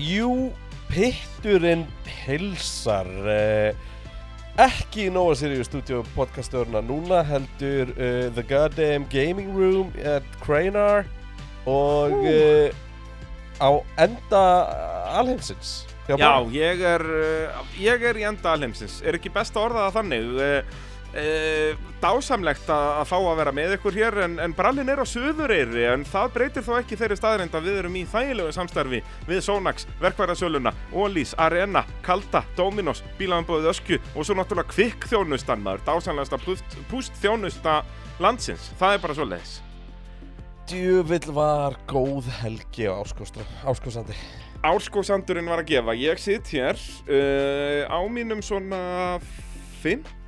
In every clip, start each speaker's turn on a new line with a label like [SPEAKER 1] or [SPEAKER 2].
[SPEAKER 1] Jú, pitturinn hilsar uh, ekki í Nóa Sirius Studio podcastörna núna heldur uh, The Goddamn Gaming Room at Cranar og uh, á enda alheimsins hjá
[SPEAKER 2] Já,
[SPEAKER 1] Boga.
[SPEAKER 2] ég er, uh, ég er í enda alheimsins. Er ekki best að orða það þannig? Uh, uh, dásamlegt að, að fá að vera með ykkur hér en, en brallin er á söðureyri en það breytir þó ekki þeirri staðrind að við erum í þægilegu samstarfi við Sonax, Verkværasöluna, Ólís, Arena, Kalda, Dominos, Bílanbóðið Öskju og svo náttúrulega Kvikk þjónustan maður, dásamlegasta púst, púst þjónusta landsins. Það er bara svo leiðis.
[SPEAKER 1] Djöfull var góð helgi á Áskostra- Áskosandi
[SPEAKER 2] Árskósandurinn var að gefa, ég sitt hér uh, á mínum svona fymta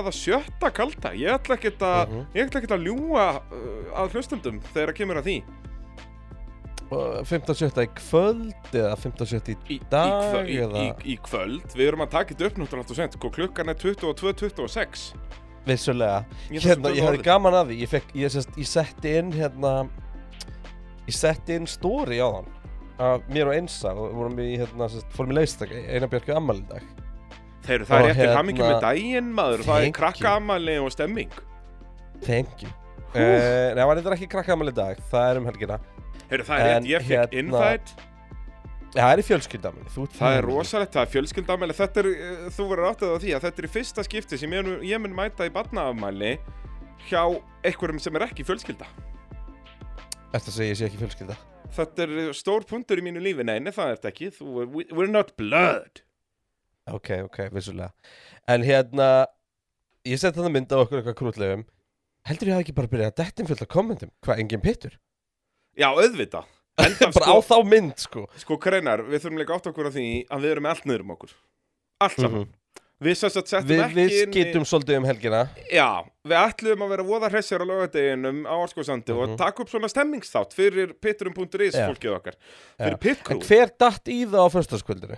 [SPEAKER 2] eða sjötta kalda, ég ætla ekkert að,
[SPEAKER 1] Mhm.
[SPEAKER 2] ég ætla ekkert að ljúga uh, að hlustundum þegar að kemur að því.
[SPEAKER 1] uh, 15.7. í kvöld eða 15.7. í
[SPEAKER 2] Í,
[SPEAKER 1] Dag
[SPEAKER 2] í, kvö- í,
[SPEAKER 1] eða-
[SPEAKER 2] í, í kvöld, við erum að taka þetta upp náttúrulega alltaf sent, sko, klukkan er 22.26.
[SPEAKER 1] vissulega
[SPEAKER 2] Ég ætla
[SPEAKER 1] hérna, ég
[SPEAKER 2] að tökum
[SPEAKER 1] hefði
[SPEAKER 2] orðið.
[SPEAKER 1] gaman að því ég, fekk, ég, sest, ég setti inn hérna ég setti inn stóri á þann af mér og einsa og vorum við í, hérna, sest, fórum í leistak Einar Björk í ammali dag
[SPEAKER 2] Þeir eru það
[SPEAKER 1] Og
[SPEAKER 2] rétt til
[SPEAKER 1] hérna-
[SPEAKER 2] hamingi með daginn maður, það er
[SPEAKER 1] Thank you.
[SPEAKER 2] krakkaamali og stemming.
[SPEAKER 1] thank you uh, nei, það var eitthvað ekki krakka ammali dag það er um helgina
[SPEAKER 2] Heyrðu, það er
[SPEAKER 1] En
[SPEAKER 2] rétt, ég fekk
[SPEAKER 1] hérna-
[SPEAKER 2] invite,
[SPEAKER 1] það er í fjölskylda ammali þú ert
[SPEAKER 2] Það er
[SPEAKER 1] í-
[SPEAKER 2] rosalegt, það er fjölskyldamæli, þetta er, eh, þú verður áttið á því að þetta er í fyrsta skipti sem ég, mun- ég mun mæta í barnaafmæli hjá einhverjum sem er ekki fjölskylda.
[SPEAKER 1] Ertu að segja ég sé ekki fjölskylda
[SPEAKER 2] Þetta er stór punktur í mínu lífi, nei, nei, það er þetta ekki, þú, we- we're not blood.
[SPEAKER 1] ok, ok, vissulega en hérna ég setti þannig mynd á okkur eitthvað krútlegum heldur ég hafi ekki bara byrjað að dettin fullt af kommentum hvað, engin pittur?
[SPEAKER 2] Já, auðvitað. Enda
[SPEAKER 1] bara á
[SPEAKER 2] sko,
[SPEAKER 1] þá mynd sko
[SPEAKER 2] sko, kreinar, við þurfum líka átt okkur á því að við erum með allt niður um okkur. Allt saman. Við sem sagt settum
[SPEAKER 1] Vi,
[SPEAKER 2] ekki
[SPEAKER 1] Mhm. við
[SPEAKER 2] inn í-
[SPEAKER 1] skitum svolítið um helgina
[SPEAKER 2] Já, við ætlum að vera voða hressir á lögadeginum á Orskóðsandi og
[SPEAKER 1] Mhm.
[SPEAKER 2] taka upp svona stemmingsþátt fyrir pitturum.is
[SPEAKER 1] Já.
[SPEAKER 2] fólkið okkar.
[SPEAKER 1] Já.
[SPEAKER 2] Fyrir pitkrú.
[SPEAKER 1] En hver datt í það á föstaskvöldinu?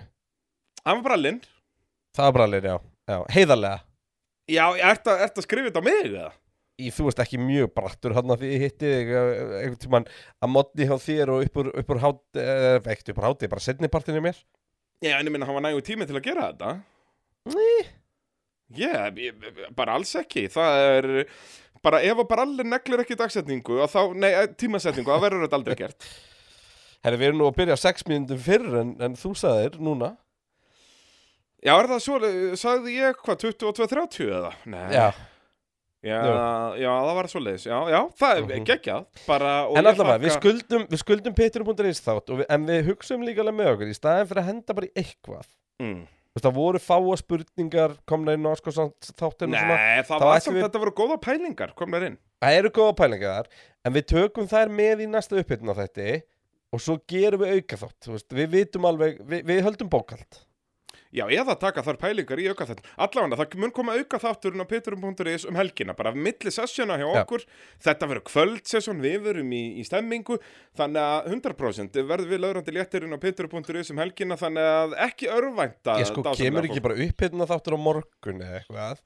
[SPEAKER 2] Hann var brallinn.
[SPEAKER 1] Það var brallir, já, já. Heiðarlega
[SPEAKER 2] Já, ertu að, ertu að skrifa þetta á mig eða?
[SPEAKER 1] Í, þú veist ekki mjög brattur hann að því ég hitti þig, eh, einhvern tímann að modni hjá þér og upp úr, upp úr hát eh, ekkert upp úr háti, bara setni partinu mér
[SPEAKER 2] Já, en ég minna, hann var nægur tími til að gera þetta.
[SPEAKER 1] Nei.
[SPEAKER 2] Já, ég- ég- bara alls ekki. Það er, bara ef að bara allir neglir ekki dagsetningu, að þá, nei, eh, tímasetningu, þá verður þetta aldrei gert.
[SPEAKER 1] Herri, við erum nú að byrja sex mínúndum fyrr en, en þú sagðir núna
[SPEAKER 2] Já, er það svo, sagði ég hvað, 22.30 eða? Nei.
[SPEAKER 1] Já,
[SPEAKER 2] Já,
[SPEAKER 1] Jú.
[SPEAKER 2] já, það var svo leiðis. Já, já, það er
[SPEAKER 1] Mhm.
[SPEAKER 2] geggjað. Bara, og
[SPEAKER 1] en
[SPEAKER 2] ég
[SPEAKER 1] allavega, við
[SPEAKER 2] þakka-
[SPEAKER 1] skuldum, við skuldum pitturum.is þátt og við, en við hugsaum líka alveg með okkur í staðin fyrir að henda bara í eitthvað
[SPEAKER 2] Mm.
[SPEAKER 1] Þú veist, það voru fáa spurningar komna inn á sko þáttinu
[SPEAKER 2] Nei, það
[SPEAKER 1] þá
[SPEAKER 2] var
[SPEAKER 1] ætlum
[SPEAKER 2] samt,
[SPEAKER 1] við-
[SPEAKER 2] þetta voru góða pælingar, komnar inn.
[SPEAKER 1] Það eru góða pælingar þar, en við tökum þær með í næsta upphittin á þetta og svo gerum við auka þátt, þú veist, við vitum alveg, við, við höldum bókald.
[SPEAKER 2] Já, eða taka þar pælingar í auka þátt Allavega, það mun koma auka þátturinn á peterum.is um helgina, bara milli sessjona hjá
[SPEAKER 1] Já.
[SPEAKER 2] okkur Þetta verður kvöldsessjón, við verum í, í stemmingu Þannig að 100% verður við lögrandi léttirinn á peterum.is um helgina Þannig að ekki örvænta
[SPEAKER 1] Ég sko,
[SPEAKER 2] dásamlega
[SPEAKER 1] kemur
[SPEAKER 2] fólk.
[SPEAKER 1] ekki bara upphittin á þáttur á morgun eða eitthvað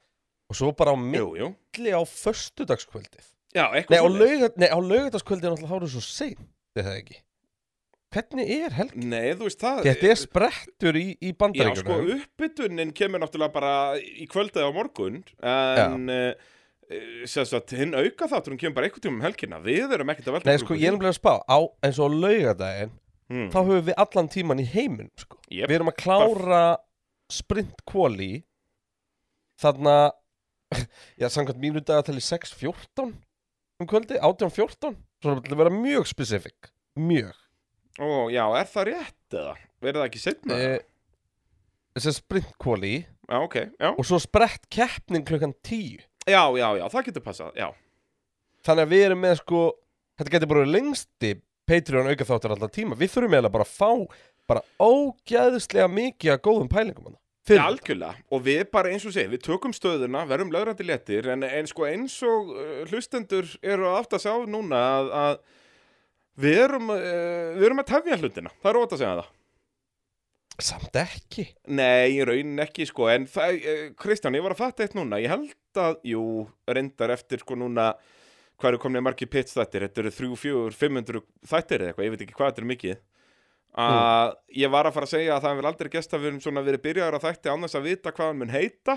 [SPEAKER 1] og svo bara á
[SPEAKER 2] Jú, jú,
[SPEAKER 1] milli á föstudagskvöldið.
[SPEAKER 2] já,
[SPEAKER 1] Nei, á,
[SPEAKER 2] eitthvað svoleiðis.
[SPEAKER 1] laugat, nei, á laugatagskvöldið er náttúrulega hárið svo seint, er það ekki? Hvernig er helg?
[SPEAKER 2] Nei, þú veist það
[SPEAKER 1] Þetta er sprettur í, í
[SPEAKER 2] Já, sko,
[SPEAKER 1] bandaríkunum.
[SPEAKER 2] uppbytunin kemur náttúrulega bara í kvöldið á morgun En, uh, sem sagt, hinn auka þátturinn kemur bara eitthvað tíma um helgina Við erum ekkert að velta
[SPEAKER 1] Nei,
[SPEAKER 2] okkur
[SPEAKER 1] sko,
[SPEAKER 2] upp
[SPEAKER 1] ég er
[SPEAKER 2] úr
[SPEAKER 1] nefnilega að spá, á, eins og á laugadaginn,
[SPEAKER 2] því. Mm.
[SPEAKER 1] þá höfum við allan tíman í heiminum, sko.
[SPEAKER 2] Jep.
[SPEAKER 1] Við erum að klára sprintkvóli þarna já, samkvæmt mínu dagatali 6.14 um kvöldi, 18.14 svo það vil vera mjög spesifik mjög
[SPEAKER 2] Ó, já, er það rétt eða? Verður það ekki setna?
[SPEAKER 1] Eh, þessi sprintkvóli
[SPEAKER 2] já, ok, já.
[SPEAKER 1] og svo sprett keppnin klukkan 10
[SPEAKER 2] Já, já, já, það getur passað, já.
[SPEAKER 1] þannig að við erum með sko þetta getur bara lengsti Patreon auka þáttur alltaf tíma, við þurfum eiginlega bara að fá bara ógæðislega mikið að góðum pælingum hana
[SPEAKER 2] Já, algjörlega. Og við bara, eins og sé, við tökum stöðuna, verðum lögrandi léttir, en, en sko eins og uh, hlustendur eru að átt að sjá núna að, að við erum, uh, við erum að tefja hlutina. Það er ótt að segja það.
[SPEAKER 1] samt ekki
[SPEAKER 2] Nei, í raunin ekki, sko, en það, uh, Kristján, ég var að fatta eitt núna. Ég held að, jú, reyndar eftir, sko, núna, hvað eru komnið margir pits þættir? Þetta eru 3, 4, 500 þættir eða eitthvað, ég veit ekki hvað þetta er mikið.
[SPEAKER 1] Hmm.
[SPEAKER 2] að ég var að fara að segja að það hefur aldrei gest að við erum svona verið byrjaður að þætti annars að vita hvað hann mun heita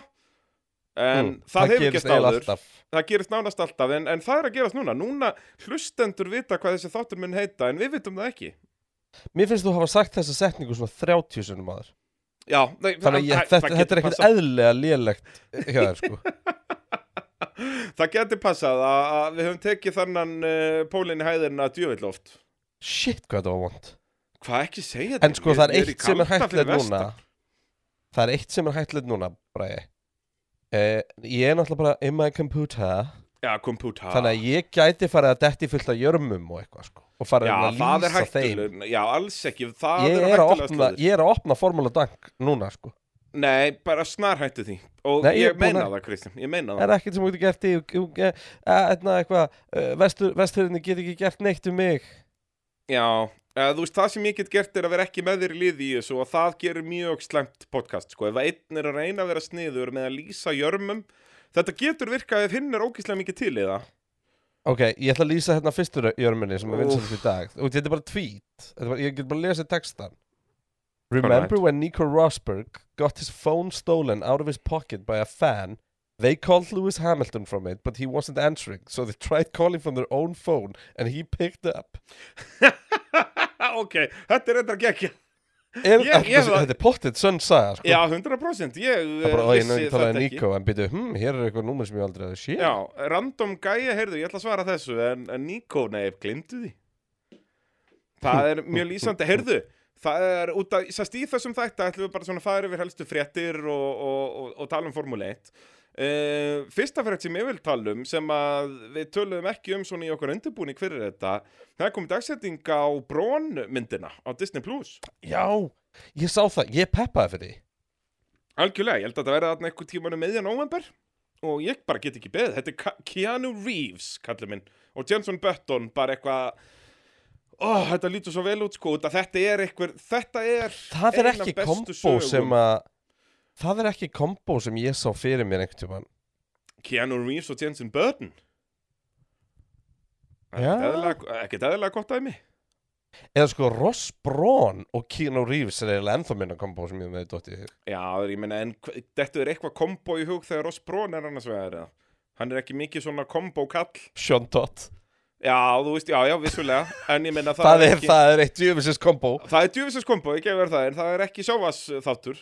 [SPEAKER 2] en
[SPEAKER 1] Mm,
[SPEAKER 2] það, hefur
[SPEAKER 1] gerist
[SPEAKER 2] gest
[SPEAKER 1] eiginlega
[SPEAKER 2] áður
[SPEAKER 1] alltaf.
[SPEAKER 2] það gerist nánast alltaf en, en það er að gerast núna núna hlustendur vita hvað þessi þáttur mun heita en við vitum það ekki
[SPEAKER 1] Mér finnst þú hafa sagt þessa setningu svona 30 sunnum aður
[SPEAKER 2] Já, nei,
[SPEAKER 1] Þannig að ég,
[SPEAKER 2] það-
[SPEAKER 1] þetta,
[SPEAKER 2] það
[SPEAKER 1] þetta er
[SPEAKER 2] getur
[SPEAKER 1] ekkert
[SPEAKER 2] passað-
[SPEAKER 1] eðlilega lélegt hjá þér sko
[SPEAKER 2] Það getur passað að, að við höfum tekið þannan uh, pólinn í hæðirna djövill oft
[SPEAKER 1] Shit hvað þetta var vond
[SPEAKER 2] Hvað ekki segja
[SPEAKER 1] En sko
[SPEAKER 2] Ég-
[SPEAKER 1] það
[SPEAKER 2] ég
[SPEAKER 1] er
[SPEAKER 2] í
[SPEAKER 1] eitt sem er
[SPEAKER 2] kalda fyrir
[SPEAKER 1] hættilegt núna
[SPEAKER 2] vestan.
[SPEAKER 1] Það er eitt sem er hættilegt núna Bræði eh, Ég er náttúrulega bara in my computer
[SPEAKER 2] Já, kompúta
[SPEAKER 1] Þannig að ég gæti farið að detti fullt af jörmum og eitthvað sko Og farið
[SPEAKER 2] Já,
[SPEAKER 1] að
[SPEAKER 2] það
[SPEAKER 1] lýsa
[SPEAKER 2] er
[SPEAKER 1] þeim
[SPEAKER 2] hættulegur Já, alls ekki, það
[SPEAKER 1] ég er,
[SPEAKER 2] eru
[SPEAKER 1] að
[SPEAKER 2] hættulegar
[SPEAKER 1] opna,
[SPEAKER 2] slóðir.
[SPEAKER 1] ég er að opna Formula Dunk núna sko
[SPEAKER 2] Nei, bara snar hættu því Og
[SPEAKER 1] Nei, ég
[SPEAKER 2] ég,
[SPEAKER 1] er búinn
[SPEAKER 2] meina
[SPEAKER 1] að-
[SPEAKER 2] það, Kristján, ég meina
[SPEAKER 1] Það
[SPEAKER 2] það
[SPEAKER 1] er ekkert sem þú getur gert í þú- þú- eh, Eitthvað, eitthvað eh, vestur, Vesturinn get ekki gert neitt um mig
[SPEAKER 2] Já, uh, þú veist, það sem ég get gert er að vera ekki með þér í liði í þessu Og það gerir mjög slæmt podcast, sko Ef að einn er að reyna að vera sniður með að lýsa jörmum Þetta getur virkað ef hinn er ókíslega mikið til í það
[SPEAKER 1] Ok, ég ætla að lýsa hérna fyrstur jörmunni sem er
[SPEAKER 2] Úff.
[SPEAKER 1] vinsælt í dag og þetta er bara tweet, Þetta er bara, ég get bara að lesa textan
[SPEAKER 2] Alright.
[SPEAKER 1] Remember when Nico Rosberg got his phone stolen out of his pocket by a fan They called Lewis Hamilton from it but he wasn't answering so they tried calling from their own phone and he picked up
[SPEAKER 2] Ok, þetta er eitthvað gekkja
[SPEAKER 1] er,
[SPEAKER 2] Ég- ég
[SPEAKER 1] þetta,
[SPEAKER 2] var-
[SPEAKER 1] þetta er pottet sönn saga sko.
[SPEAKER 2] Já, 100% Ég
[SPEAKER 1] það er bara,
[SPEAKER 2] eh,
[SPEAKER 1] "Ó, ég
[SPEAKER 2] vissi
[SPEAKER 1] nefnir
[SPEAKER 2] þetta
[SPEAKER 1] talaði
[SPEAKER 2] ekki
[SPEAKER 1] Nico en byrju, hm, hér er eitthvað númer sem ég aldrei hefði séð
[SPEAKER 2] Já, random gæja, heyrðu, ég ætla að svara þessu En, en Nico, nei, glimtu því Það er mjög lýsandi Heyrðu, það er út að Sest í þessum þætti ætlum við bara svona að fara yfir helstu fréttir Og, og, og, og tala um Formule 1 Uh, fyrsta frétt sem ég vil tala um sem að við töluðum ekki um svona í okkur undirbúning fyrir þetta það er komið dagsetting á Brón myndina á Disney Plus
[SPEAKER 1] Já, ég sá það, ég peppaði fyrir því
[SPEAKER 2] Algjörlega, ég held að það verði þarna einhver tíman um meðjan november og ég bara get ekki beðið. Þetta er Ka- Keanu Reeves, kallið minn, og Jenson Button, bara eitthvað, ó, þetta lítur svo vel út, sko, út að þetta er einhver, þetta er
[SPEAKER 1] það er
[SPEAKER 2] ein af
[SPEAKER 1] ekki
[SPEAKER 2] bestu
[SPEAKER 1] kombo
[SPEAKER 2] sögum.
[SPEAKER 1] sem að það er ekki kombo sem ég sá fyrir mér einhvern tímann
[SPEAKER 2] Keanu Reeves og Jenson Button.
[SPEAKER 1] Já.
[SPEAKER 2] Ekkert eðlilega- Ekkert eðlilega gott dæmi.
[SPEAKER 1] eða sko Ross Braun og Keanu Reeves er eiginlega ennþá minna kombo sem ég með dótti þér
[SPEAKER 2] Já, ég meina, en hva- þetta er eitthvað kombo í hug þegar Ross Brón er annars vegar, eða? Hann er ekki mikið svona kombo-kall.
[SPEAKER 1] Sean Todd,
[SPEAKER 2] Já, þú veist, já, já, vissulega. En ég meina, það,
[SPEAKER 1] það er,
[SPEAKER 2] ekki...
[SPEAKER 1] það er eitt djöfisins kombo
[SPEAKER 2] Það er djúfisins kombo, ég gefur það, en það er ekki sjávas þáttur.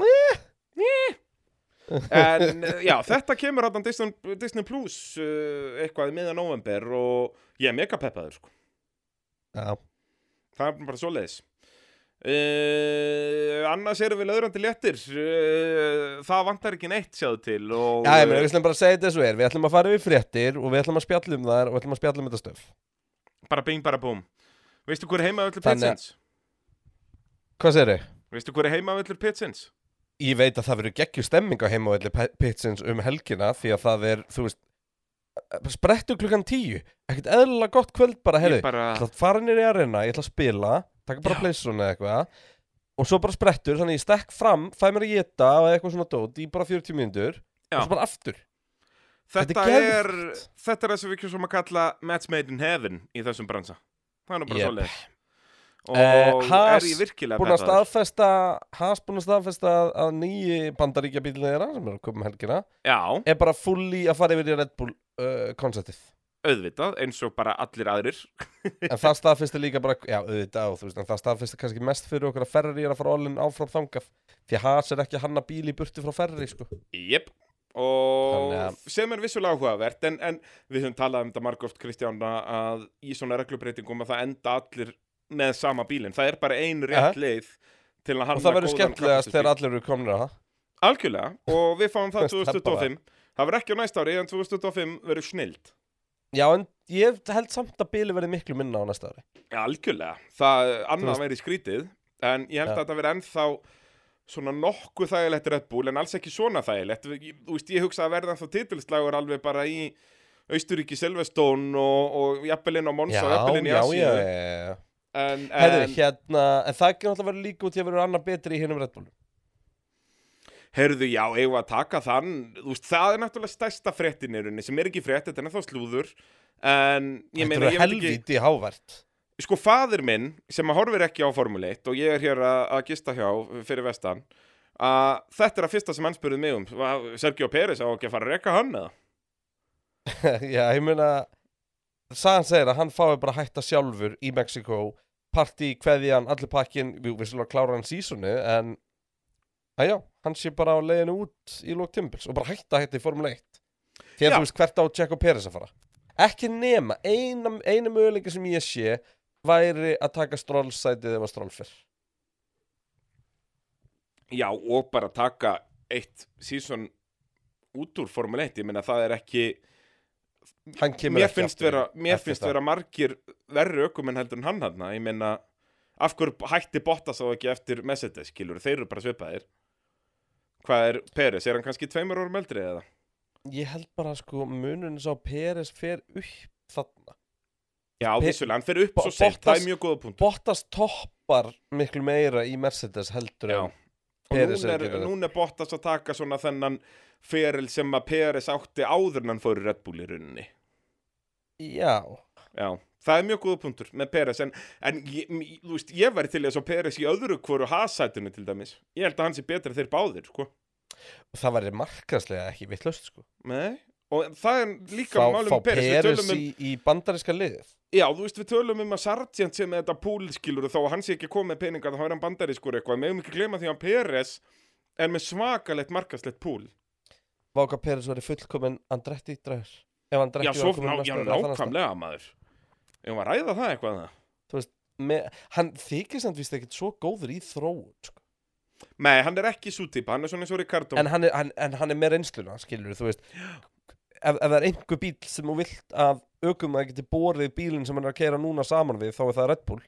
[SPEAKER 1] Eh,
[SPEAKER 2] En eh, já, þetta kemur hann Disney, Disney Plus uh, eitthvað í miðan november og ég er mega peppaður, sko.
[SPEAKER 1] Já,
[SPEAKER 2] Það er bara svoleiðis. Uh, annars erum við löðrandi léttir. Uh, það vantar ekki neitt, sjáðu til. Og,
[SPEAKER 1] Já ég meina, við ætlum bara að segja þetta svo er Við ætlum að fara við fréttir og við ætlum að spjalla um þar og við ætlum að spjalla um þetta stöf
[SPEAKER 2] Bara bing, bara búm. Veistu hver er heimavöllur
[SPEAKER 1] Þannig að-
[SPEAKER 2] Pitsins?
[SPEAKER 1] Hvað segir þau?
[SPEAKER 2] Veistu hver er heimavöllur Pitsins?
[SPEAKER 1] Ég veit að það verður geggju stemming á heimavelli Pe- Pitsins um helgina því að það er, þú veist, sprettu klukkan tíu, ekkert eðlilega gott kvöld bara, heyrðu,
[SPEAKER 2] Ég bara...
[SPEAKER 1] ég ætla að fara nýri í arena, ég ætla að spila, taka bara
[SPEAKER 2] Já.
[SPEAKER 1] pleysuna eða eitthvað og svo bara sprettur, þannig ég stekk fram, fæ mér að geta eða eitthvað svona dót í bara 40 mínútur
[SPEAKER 2] Já.
[SPEAKER 1] og svo bara aftur.
[SPEAKER 2] Þetta
[SPEAKER 1] Þetta er
[SPEAKER 2] er, þetta er það sem við kjósum að kalla match made in heaven í þessum bransa. Það er nú bara
[SPEAKER 1] Yep.
[SPEAKER 2] svoleiðis. Og
[SPEAKER 1] Eh, Haas
[SPEAKER 2] er ég virkilega
[SPEAKER 1] Búin að
[SPEAKER 2] peppaður.
[SPEAKER 1] staðfesta, has búin að staðfesta að- að nýji bandaríkja bílina þeirra sem er að koma um helgina
[SPEAKER 2] Já,
[SPEAKER 1] er bara fulli að fara yfir í Red Bull uh, konceptið.
[SPEAKER 2] auðvitað, eins og bara allir aðrir.
[SPEAKER 1] En það staðfisti líka bara, já, auðvitað, og þú veist, en það staðfisti kannski mest fyrir okkur að Ferrari er að fara allin áfram þangað. Því að Haas er ekki að hanna bíl í burtu frá Ferrari, sko.
[SPEAKER 2] Jep. Og
[SPEAKER 1] Þannig að-
[SPEAKER 2] sem er vissulega áhugavert, en, en við höfum talað um þetta margóft, Kristján, að- að í svona reglubreitingum að það enda allir með sama bílinn. Það er bara ein rétt
[SPEAKER 1] Aha.
[SPEAKER 2] leið til að
[SPEAKER 1] Og
[SPEAKER 2] hanna
[SPEAKER 1] það verður skemmtilegast
[SPEAKER 2] kappakstusbíl.
[SPEAKER 1] þegar allir eru komnir að það.
[SPEAKER 2] Algjörlega, og við fáum það
[SPEAKER 1] Veist það bara.
[SPEAKER 2] 2025. Það verður ekki á næsta ári, en 2025 verður snild.
[SPEAKER 1] Já, en ég held samt að bíli verði miklu minna á næsta ári.
[SPEAKER 2] Ja, algjörlega. Það eh, annað
[SPEAKER 1] veist-
[SPEAKER 2] væri skrítið, en ég
[SPEAKER 1] Ja.
[SPEAKER 2] held að þetta veri ennþá svona nokkuð þægilegt Red Bull, en alls ekki svona þægilegt. Ég- Þú veist, ég hugsa að verða ennþá titilslagur alveg bara í Austuríki, Silveston og, og jafnvelin á Monsa
[SPEAKER 1] Já,
[SPEAKER 2] og jafnvelin í
[SPEAKER 1] já,
[SPEAKER 2] Asíu.
[SPEAKER 1] já, já, já.
[SPEAKER 2] En, en
[SPEAKER 1] Herðu, hérna, en það ekki náttúrulega verið líka út í að verður annar betri í hinnum Red Bull.
[SPEAKER 2] heyrðu, já, eigum við að taka þann, þú veist, það er náttúrulega stærsta fréttin í rauninni, sem er ekki frétt, þetta er ennþá slúður, en ég
[SPEAKER 1] Þetta
[SPEAKER 2] meina,
[SPEAKER 1] eru
[SPEAKER 2] ég veit ekki...
[SPEAKER 1] helvítið hávært.
[SPEAKER 2] sko fadir minn sem að horfir ekki á Formule 1 og ég er hér að, að gista hjá fyrir vestan að þetta er að fyrsta sem hann spurði mig um var Sergio Pérez á ekki að fara að reka hann eða
[SPEAKER 1] Já, ég meina Sagan segir að hann fái bara að hætta sjálfur í Mexiko Partí, kveðjan, allir pakkin Jú, við slúum að klára hann sísoni En, að já, hann sé bara á leiðinu út í lók timbils Og bara hætta að hætta í Formule 1 Því að
[SPEAKER 2] Já.
[SPEAKER 1] þú veist hvert á Tjekko Peres að fara Ekki nema, eina, eina möguleika sem ég sé Væri að taka strólsætið ef að stról fyrr
[SPEAKER 2] já og bara taka eitt síson út úr Formule 1 ég meina það er ekki
[SPEAKER 1] Hann kemur
[SPEAKER 2] mér
[SPEAKER 1] ekki
[SPEAKER 2] finnst
[SPEAKER 1] aftur í-
[SPEAKER 2] vera, mér
[SPEAKER 1] eftir
[SPEAKER 2] finnst
[SPEAKER 1] það.
[SPEAKER 2] vera margir verri ökumenn heldur en hann hann ég meina af hverju hætti Bottas á ekki eftir Mercedes skilur þeir eru bara svipaðir hvað er Pérez, er hann kannski tveimur orðum eldri eða
[SPEAKER 1] Ég held bara sko munurinn sá Peres fer upp þarna
[SPEAKER 2] já
[SPEAKER 1] Pe-
[SPEAKER 2] vissulega, hann fer upp
[SPEAKER 1] Bo-
[SPEAKER 2] svo sent, það
[SPEAKER 1] Bottas-
[SPEAKER 2] er mjög góða punkt
[SPEAKER 1] Bottas toppar miklu meira í Mercedes heldur
[SPEAKER 2] Já.
[SPEAKER 1] en
[SPEAKER 2] Og
[SPEAKER 1] Peres
[SPEAKER 2] núna
[SPEAKER 1] er
[SPEAKER 2] er,
[SPEAKER 1] að gera
[SPEAKER 2] núna er Bottas að taka svona þennan feril sem að Peres átti áður en hann fór í Red Bull í runni.
[SPEAKER 1] Já,
[SPEAKER 2] Já, það er mjög góða punktur með Peres en, en ég, m- þú veist, ég væri til þess að Peres í öðru hvoru hasætunni til dæmis. Ég held að hann sé betra þeir báðir, sko.
[SPEAKER 1] það væri markaslega ekki vittlust sko
[SPEAKER 2] Nei, og það er líka
[SPEAKER 1] Fá,
[SPEAKER 2] málum
[SPEAKER 1] fá
[SPEAKER 2] með Peres. Við
[SPEAKER 1] Peres
[SPEAKER 2] tölum um,
[SPEAKER 1] í, í bandariska liðið
[SPEAKER 2] já, þú veist, við tölum um að Sargent sem er þetta púlskilur og þó að hann sé ekki komið peninga þá er hann bandarískur eitthvað. Megum ekki gleyma því að Peres er með svakalegt markaslegt púl.
[SPEAKER 1] Vá hvað Peres væri fullkomin Andretti dræður Ef Andretti
[SPEAKER 2] Já, svo,
[SPEAKER 1] var komin
[SPEAKER 2] ná,
[SPEAKER 1] næsta
[SPEAKER 2] já,
[SPEAKER 1] ári eða þar næsta.
[SPEAKER 2] nákvæmlega maður Ég var að ræða það eitthvað það
[SPEAKER 1] Með, Hann þykir samt víst ekkit svo góður í þróun sko.
[SPEAKER 2] Nei, hann er ekki svo típa, hann er svona eins og Ricardo
[SPEAKER 1] en, hann er, hann, en hann er með reynsluna skilur þú veist Ef, ef það er einhver bíl sem þú vilt að ökum að geti borið bílinn sem hann er að keira núna saman við þá er það Red Bull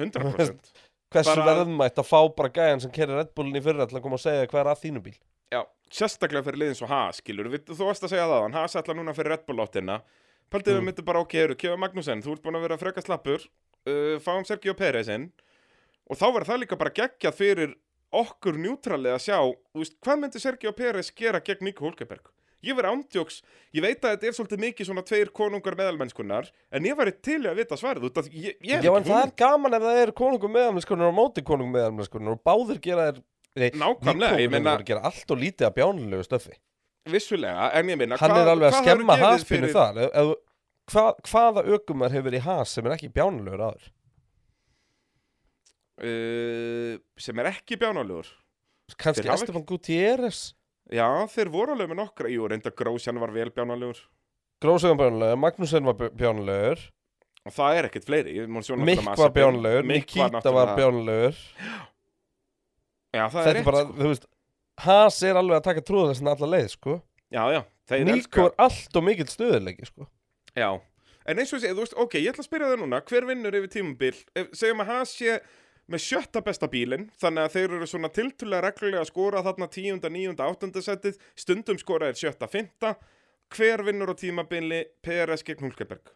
[SPEAKER 2] 100%
[SPEAKER 1] Hversu
[SPEAKER 2] Bara-
[SPEAKER 1] verðmætt að fá bara gæjan sem kerir Red Bullin í fyrra til að koma og segja hvað er að þínu bíl
[SPEAKER 2] Já, sérstaklega fyrir liðin svo Haas, skilur við, Þú varst að segja það, hann Haas ætla núna fyrir Red Bull áttina Paldið við
[SPEAKER 1] Mm.
[SPEAKER 2] myndi bara, ok, eru, kefa Magnúsen Þú ert búin að vera freka slappur uh, Fáum Sergio Pérez inn Og þá var það líka bara geggjað fyrir okkur njútralið að sjá þú veist, Hvað myndi Sergio Pérez gera gegn Nico Hulkeberg? Ég verið ándjóks, ég veit að þetta er svolítið mikið svona tveir konungar meðalmennskunnar En ég verið til í að vita svarið út af því ég, ég hef
[SPEAKER 1] Já,
[SPEAKER 2] ekki
[SPEAKER 1] en það
[SPEAKER 2] hugmynd.
[SPEAKER 1] er gaman ef það eru konungum meðamliskunar og móti konungum meðamliskunar og báðir gera þér Nei,
[SPEAKER 2] Nákvæmlega, ég
[SPEAKER 1] Nico
[SPEAKER 2] meina
[SPEAKER 1] er að gera allt og lítið af bjánulegu stöfi
[SPEAKER 2] vissulega, en ég meina
[SPEAKER 1] Hann
[SPEAKER 2] hvað-
[SPEAKER 1] er alveg að
[SPEAKER 2] hvað hefur
[SPEAKER 1] skemma
[SPEAKER 2] gefið
[SPEAKER 1] haspinu
[SPEAKER 2] fyrir-
[SPEAKER 1] þar ef, ef, hva, Hvaða ökumar hefur verið í has sem er ekki bjánulegur aður?
[SPEAKER 2] uh, sem er ekki bjánálegur
[SPEAKER 1] Kanski
[SPEAKER 2] Þeir hafa
[SPEAKER 1] Estefan Gutierrez
[SPEAKER 2] já, þeir voru alveg með nokkra jú, reynda Grósjan var vel bjánálegur
[SPEAKER 1] Grósögan bjánulegur, Magnúsen var bjánulegur
[SPEAKER 2] og það er ekkert fleiri ég mun sjá náttúrulega
[SPEAKER 1] Mikk var
[SPEAKER 2] Mazepin.
[SPEAKER 1] bjánulegur,
[SPEAKER 2] Mick
[SPEAKER 1] Nikita var
[SPEAKER 2] náttúrulega-
[SPEAKER 1] bjánulegur
[SPEAKER 2] já, það
[SPEAKER 1] Þetta
[SPEAKER 2] er
[SPEAKER 1] er
[SPEAKER 2] rétt,
[SPEAKER 1] bara,
[SPEAKER 2] sko.
[SPEAKER 1] þú veist Has er alveg að taka trúðarlesin alla leið, sko
[SPEAKER 2] já, já, þeir
[SPEAKER 1] Nico
[SPEAKER 2] elska
[SPEAKER 1] er allt og mikill stuðurleiki, sko
[SPEAKER 2] já. en eins og þessi, þú veist, ok, ég ætla að spyrja það núna hver vinnur yfir tímabil Ef- segjum að hans sé með sjötta besta bílinn þannig að þeir eru svona tiltulega reglulega að skora þarna tíunda, níunda, áttunda setið stundum skora er sjötta, fymta hver vinnur á tímabili PRS gegn Hulkeberg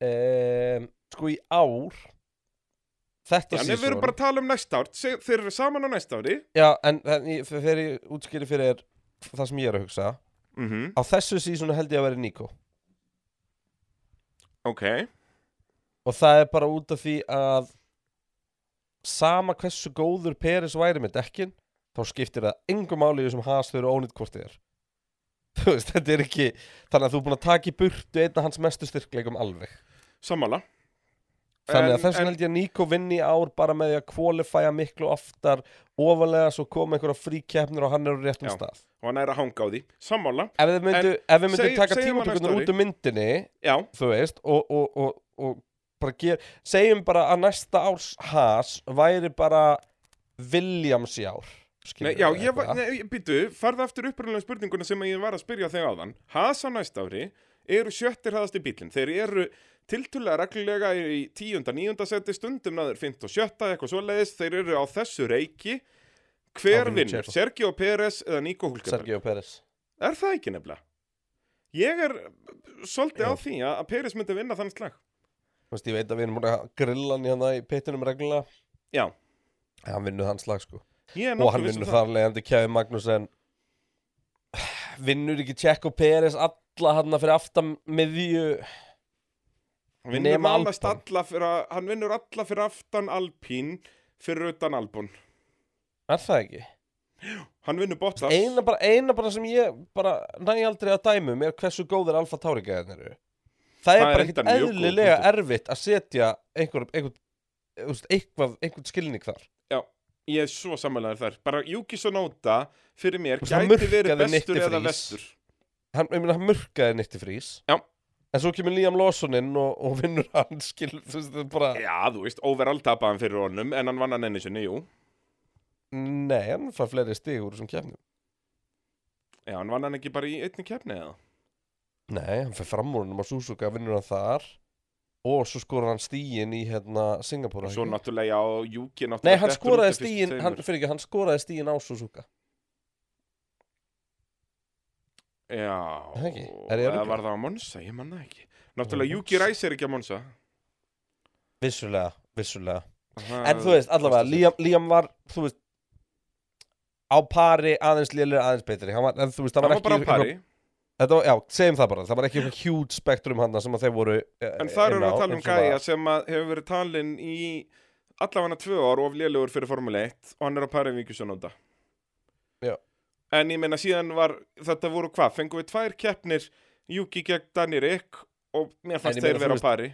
[SPEAKER 1] um, sko í ár þetta
[SPEAKER 2] Já,
[SPEAKER 1] sísón
[SPEAKER 2] nefnir við erum bara að tala um næsta ár Se- Þeir eru saman á næsta ári
[SPEAKER 1] já, en, en ég- þegar ég útskýri fyrir það sem ég er að hugsa
[SPEAKER 2] mm -hmm.
[SPEAKER 1] á þessu sísónu held ég að vera Nico
[SPEAKER 2] Ok
[SPEAKER 1] og það er bara út af því að sama hversu góður Peris væri með dekkin þá skiptir það engum máli í þessum has þau eru ónýtt hvort þið er þú veist, þetta er ekki þannig að þú er búin að taka í burtu einn af hans mestu styrkleikum alveg
[SPEAKER 2] Sammála
[SPEAKER 1] Þannig
[SPEAKER 2] En-
[SPEAKER 1] að þess vegna
[SPEAKER 2] en-
[SPEAKER 1] held ég að Nico vinni í ár bara með því að kvalifæja miklu oftar ofalega svo koma einhverja fríkeppnir og hann er á réttum
[SPEAKER 2] Já.
[SPEAKER 1] stað.
[SPEAKER 2] Og hann er að hanga á því Sammála
[SPEAKER 1] Ef við myndum, ef við myndum
[SPEAKER 2] segjum-
[SPEAKER 1] taka
[SPEAKER 2] segjum að
[SPEAKER 1] tímatökunar
[SPEAKER 2] næsta ári.
[SPEAKER 1] út um myndinni,
[SPEAKER 2] Já
[SPEAKER 1] þú veist, og, og, og, og bara ger, segjum bara að næsta árs has væri bara Williams í ár.
[SPEAKER 2] Nei, já, ég var, nei, býtu, farðu aftur upprunalega spurninguna sem ég var að spyrja þig áðan Haas á næsta ári eru sjöttir hraðast í bílinn Þeir eru tiltulega reglulega í tíunda, níunda seti stundum náður fint og sjötta eitthvað svoleiðis Þeir eru á þessu reiki Hver
[SPEAKER 1] Áfram í
[SPEAKER 2] vinnur?
[SPEAKER 1] Tjekko.
[SPEAKER 2] Sergio Pérez eða Nico Hulkeberg?
[SPEAKER 1] Sergio Pérez.
[SPEAKER 2] Er það ekki nefnilega? Ég er uh, svolítið
[SPEAKER 1] Já.
[SPEAKER 2] á því að að Peris myndi vinna þannig slag.
[SPEAKER 1] Þú veist, ég veit að við erum búin að grilla hann í hann í pittinum reglulega.
[SPEAKER 2] Já.
[SPEAKER 1] En Hann vinnur hans slag, sko.
[SPEAKER 2] Ég er
[SPEAKER 1] og
[SPEAKER 2] nokkuð
[SPEAKER 1] hann
[SPEAKER 2] viss um
[SPEAKER 1] vinnur þar leiðandi Kjavi Magnúsen vinnur ekki Tjekko Peres alla hann fyrir aftan miðju
[SPEAKER 2] Hann vinnur
[SPEAKER 1] Nema
[SPEAKER 2] nánast
[SPEAKER 1] Albon.
[SPEAKER 2] alla fyrir, a- hann vinnur alla fyrir aftan Alpín fyrir utan Albon.
[SPEAKER 1] Er það ekki?
[SPEAKER 2] Hann vinnur Bottas.
[SPEAKER 1] Eina bara, eina bara sem ég bara næ aldrei að dæmi um er hversu góðir Alfa Tauri gæðarnir eru. Það er
[SPEAKER 2] Það er
[SPEAKER 1] bara ekkert
[SPEAKER 2] reyndar mjög góð
[SPEAKER 1] eðlilega erfitt að setja einhver, einhver, einhver, einhver, einhver skilning þar.
[SPEAKER 2] Ég er svo samanlegaður þar. Bara Yuki Sonoda fyrir mér
[SPEAKER 1] Þú veist, hann
[SPEAKER 2] gæti verið
[SPEAKER 1] murkaði
[SPEAKER 2] bestur
[SPEAKER 1] Nicky
[SPEAKER 2] eða
[SPEAKER 1] Friis.
[SPEAKER 2] vestur.
[SPEAKER 1] Hann, ég meina, hann murkaði nýtti frís.
[SPEAKER 2] Já.
[SPEAKER 1] En svo kemur Liam Lawson inn og, og vinnur hann skil, þú veist, það er bara,
[SPEAKER 2] Já, þú veist, overall tapaði hann fyrir honum en hann vann hann enni sinni, jú.
[SPEAKER 1] nei, hann fær fleiri stig úr þessum kefnum.
[SPEAKER 2] Já, hann vann hann ekki bara í einni keppni eða?
[SPEAKER 1] Nei, hann fær fram úr hann á Suzuka, vinnur hann þar og svo skorar hann stíin í hérna Singapúra.
[SPEAKER 2] Og svo náttúrulega, já, Juki náttúrulega...
[SPEAKER 1] Nei, hann
[SPEAKER 2] dettur út
[SPEAKER 1] skoraði
[SPEAKER 2] af fyrstu
[SPEAKER 1] stíin,
[SPEAKER 2] tveimur.
[SPEAKER 1] hann, fyrir ekki, hann skoraði stíin á Suzuka.
[SPEAKER 2] Já,
[SPEAKER 1] Er það ekki? Er ég að
[SPEAKER 2] eða
[SPEAKER 1] rugla?
[SPEAKER 2] var það á Monsa, ég manna ekki Náttúrulega Juki Ræs er ekki á Monsa
[SPEAKER 1] Vissulega, vissulega.
[SPEAKER 2] Það-
[SPEAKER 1] En þú veist, allavega,
[SPEAKER 2] fyrsta
[SPEAKER 1] Liam, Liam var, þú veist, á pari aðeins lélir, aðeins betri. Hann var, en þú veist, það
[SPEAKER 2] Hann
[SPEAKER 1] var
[SPEAKER 2] var
[SPEAKER 1] ekki...
[SPEAKER 2] bara á pari
[SPEAKER 1] Þetta var, já, segjum það bara, það var ekki eitthvað huge spektrum hann sem að þeir voru eh,
[SPEAKER 2] En þar erum við að tala um Gæja sem að hefur verið talin í allavega tvö ár of lélugur fyrir Formule 1 og hann er á pari við Juki Sonoda
[SPEAKER 1] Já.
[SPEAKER 2] En ég meina síðan var, þetta voru hvað, fengum við tvær keppnir Juki gegn Danny Rick og mér fannst
[SPEAKER 1] ég meina,
[SPEAKER 2] þeir
[SPEAKER 1] þú
[SPEAKER 2] vera á
[SPEAKER 1] veist-
[SPEAKER 2] pari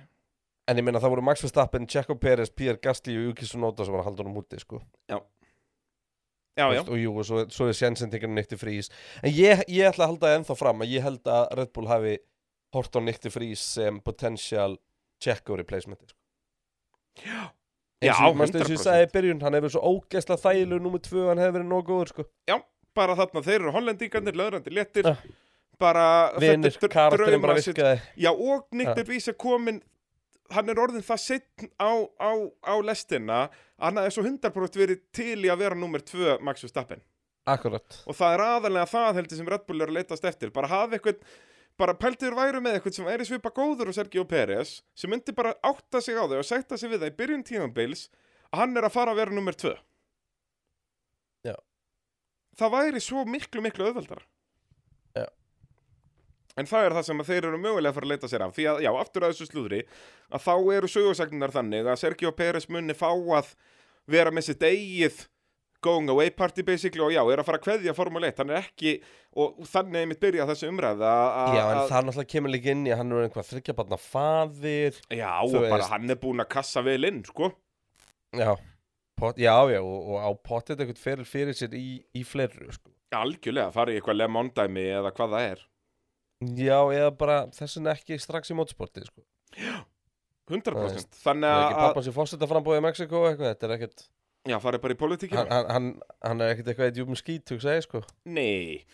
[SPEAKER 1] En ég meina það voru Max Verstappen, Checo Perez, Pierre Gasly og Yuki Tsunoda sem var að halda honum úti sko.
[SPEAKER 2] Já, já,
[SPEAKER 1] og jú, og svo, svo er sjensentingarinn nýtti frís en ég, ég ætla að halda það ennþá fram að ég held að Red Bull hafi hort á nýtti frís sem potential Checo replacement sko.
[SPEAKER 2] Já,
[SPEAKER 1] eins og manstu eins og ég
[SPEAKER 2] 100%.
[SPEAKER 1] sagði í byrjun, hann hefur verið svo ógeðslega þælu nummer tvö, hann hefur verið nóg góður sko.
[SPEAKER 2] bara þarna þeir eru hollendingarnir, löðrandi léttir
[SPEAKER 1] Já.
[SPEAKER 2] bara
[SPEAKER 1] Ah. vinir,
[SPEAKER 2] þetta er dr-
[SPEAKER 1] karakterinn bara
[SPEAKER 2] draumasituation.
[SPEAKER 1] virkaði
[SPEAKER 2] Já, og Nick
[SPEAKER 1] Ja.
[SPEAKER 2] de Vries er komin hann er orðin það setn á, á, á lestina að hann er svo 100% verið til í að vera nummer 2 Max Verstappen
[SPEAKER 1] akkurat,
[SPEAKER 2] og það er aðalega það heldur sem Red Bull er að leitast eftir bara hafa eitthvað bara pæltiður væru með eitthvað sem er í svipa góður og Sergio Pérez sem myndi bara átta sig á þau og sætta sig við það í byrjun tímabils að hann er að fara að vera nummer 2
[SPEAKER 1] Já.
[SPEAKER 2] það væri svo miklu miklu auðveldara
[SPEAKER 1] Já.
[SPEAKER 2] en það er það sem að þeir eru mögulega að fara að leita sér af því að já, aftur að þessu slúðri að þá eru sögursagnar þannig að Sergio Pérez munni fá að vera með sitt eigið going away party basically og já, er að fara að kveðja Formule 1, hann er ekki og þannig einmitt byrja þessu umræða að-
[SPEAKER 1] já, en
[SPEAKER 2] að-
[SPEAKER 1] það náttúrulega kemur líka inn í að hann er einhvað þryggjabarna faðir
[SPEAKER 2] já,
[SPEAKER 1] þú
[SPEAKER 2] og bara
[SPEAKER 1] veist.
[SPEAKER 2] hann er búinn að kassa vel inn, sko
[SPEAKER 1] Já, pot, já, já, og, og á pottet eitthvað fyrir, fyrir sér í, í fleru, sko.
[SPEAKER 2] algjörlega, fara í eitthvað lemondæmi eða hvað það er
[SPEAKER 1] Já, eða bara þessin ekki strax í mótsporti, sko.
[SPEAKER 2] 100%
[SPEAKER 1] Það er
[SPEAKER 2] þannig
[SPEAKER 1] ekki
[SPEAKER 2] að,
[SPEAKER 1] pappan sér fórsetta frambúið í Mexiko og eitthvað, þetta er ekkert,
[SPEAKER 2] já, fara bara í
[SPEAKER 1] hann,
[SPEAKER 2] politíkina
[SPEAKER 1] hann, hann, hann er ekkert eitthvað í djúpum skít, hugsa ég, sko.
[SPEAKER 2] nei,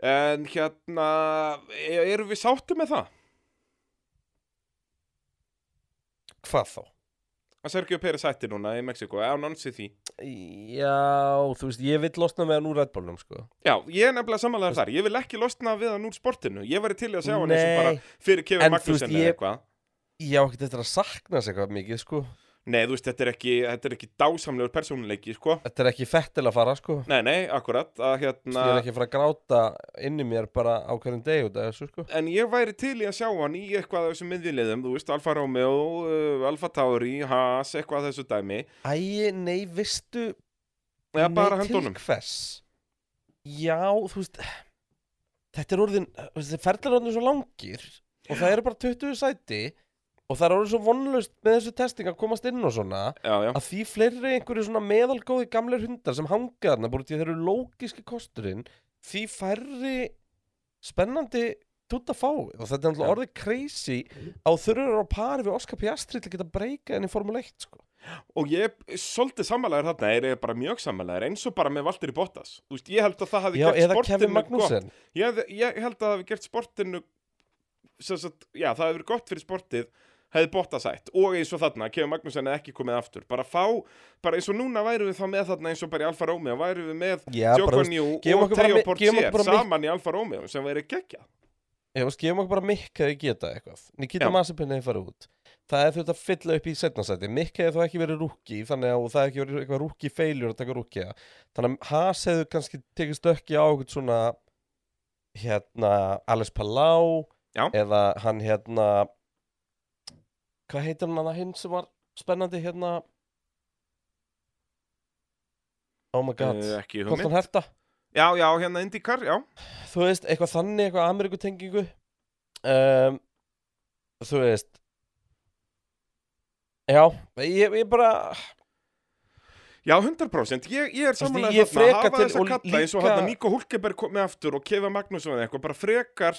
[SPEAKER 2] en hérna e- erum við sáttu með það?
[SPEAKER 1] Hvað þá?
[SPEAKER 2] að Sergio Pérez hætti núna í Mexiko, eða nonsi því
[SPEAKER 1] Já, þú veist, ég vill losna með hann úr Red Bullum, sko.
[SPEAKER 2] Já, ég er nefnilega samanlega þar, ég vil ekki losna við hann úr sportinu, ég væri til í að sjá hann eins og bara
[SPEAKER 1] Nei,
[SPEAKER 2] fyrir
[SPEAKER 1] En
[SPEAKER 2] Kevin
[SPEAKER 1] þú veist,
[SPEAKER 2] Magnussen eða
[SPEAKER 1] ég-
[SPEAKER 2] eitthvað
[SPEAKER 1] ég á ekkert eftir að sakna sér eitthvað mikið, sko.
[SPEAKER 2] Nei, þú veist, þetta er ekki, þetta er ekki dásamlegur persónuleiki, sko.
[SPEAKER 1] Þetta er ekki fett til að fara, sko.
[SPEAKER 2] Nei, nei, akkurat, að hérna...
[SPEAKER 1] Ég er ekki að fara að gráta inn í mér bara á hverjum degi út af þessu, sko.
[SPEAKER 2] En ég væri til í að sjá hann í eitthvað af þessum miðjulegðum, þú veist, Alfa Romeo, uh, Alfa Tauri, Haas, eitthvað af þessu dæmi.
[SPEAKER 1] Æ, nei, vistu,
[SPEAKER 2] Eða
[SPEAKER 1] Nei,
[SPEAKER 2] bara höndunum.
[SPEAKER 1] til hvers? Já, þú veist Þetta er orðin þú veist, Þetta ferðlar orðin svo langir Og það eru bara 20 sæti Og það er orðin svo vonlust með þessu testing að komast inn og svona
[SPEAKER 2] Já, já,
[SPEAKER 1] Að því fleiri einhverju svona meðalgóði gamlir hundar sem hanga þarna Búið til þeir eru lógiski kosturinn Því færri spennandi tutta fá Og þetta er náttúrulega
[SPEAKER 2] Já.
[SPEAKER 1] orðið crazy Á þurfur á pari við Oscar Piastri til að geta breyka henni í Formule 1 sko.
[SPEAKER 2] og ég er svolítið samanlegar þarna, er ég bara mjög samanlegar, eins og bara með Valtteri Bottas. Þú veist, ég held að það hafi
[SPEAKER 1] Já,
[SPEAKER 2] gert
[SPEAKER 1] eða Kevin
[SPEAKER 2] sportinu gott.
[SPEAKER 1] Magnussen
[SPEAKER 2] Ég, hefði- ég held að það hafi gert sportinu, sem sagt, já, það hafi verið gott fyrir sportið, hefði Bottas hætt. Og eins og þarna, Kevin Magnúsen hefði ekki komið aftur. Bara fá, bara eins og núna væru við þá með þarna eins og bara í Alfa Romeo, væru við með
[SPEAKER 1] Já, bara, þú veist,
[SPEAKER 2] Djokovic
[SPEAKER 1] gefum
[SPEAKER 2] og
[SPEAKER 1] okkur bara
[SPEAKER 2] Teo
[SPEAKER 1] mi- gefum okkur
[SPEAKER 2] Portier
[SPEAKER 1] bara mi-
[SPEAKER 2] saman í Alfa Romeo sem verið gegja
[SPEAKER 1] Ég veist, gefum okkur bara Mikk hefði getað eitthvað Nikita
[SPEAKER 2] Já.
[SPEAKER 1] Masipin hefði farið út Það hefði þurft að fylla upp í setnarsæti Mikk hefði þá ekki verið rúki Þannig að og það hefði ekki verið eitthvað rúki feiljur að taka rúki Þannig að Haas hefði kannski tekið stökki á eitthvað svona Hérna, Alice Palau
[SPEAKER 2] Já.
[SPEAKER 1] Eða hann hérna Hvað heitir hann að hinn sem var spennandi hérna? Oh my god.
[SPEAKER 2] Eh, ekki hugmynd.
[SPEAKER 1] Koltan Herta.
[SPEAKER 2] Já, já, hérna IndyCar, já.
[SPEAKER 1] Þú veist, eitthvað þannig, eitthvað Amerikutengingu. Um, þú veist. Já, ég, ég bara,
[SPEAKER 2] Já, 100%. Ég, ég er
[SPEAKER 1] Þú veist,
[SPEAKER 2] samanlega
[SPEAKER 1] ég er
[SPEAKER 2] þarna
[SPEAKER 1] frekar
[SPEAKER 2] hafa
[SPEAKER 1] til-
[SPEAKER 2] þess að
[SPEAKER 1] og
[SPEAKER 2] kalla eins og
[SPEAKER 1] líka-
[SPEAKER 2] hérna Míko Hulkeberg komið aftur og Kefa Magnússon eða eitthvað, bara frekar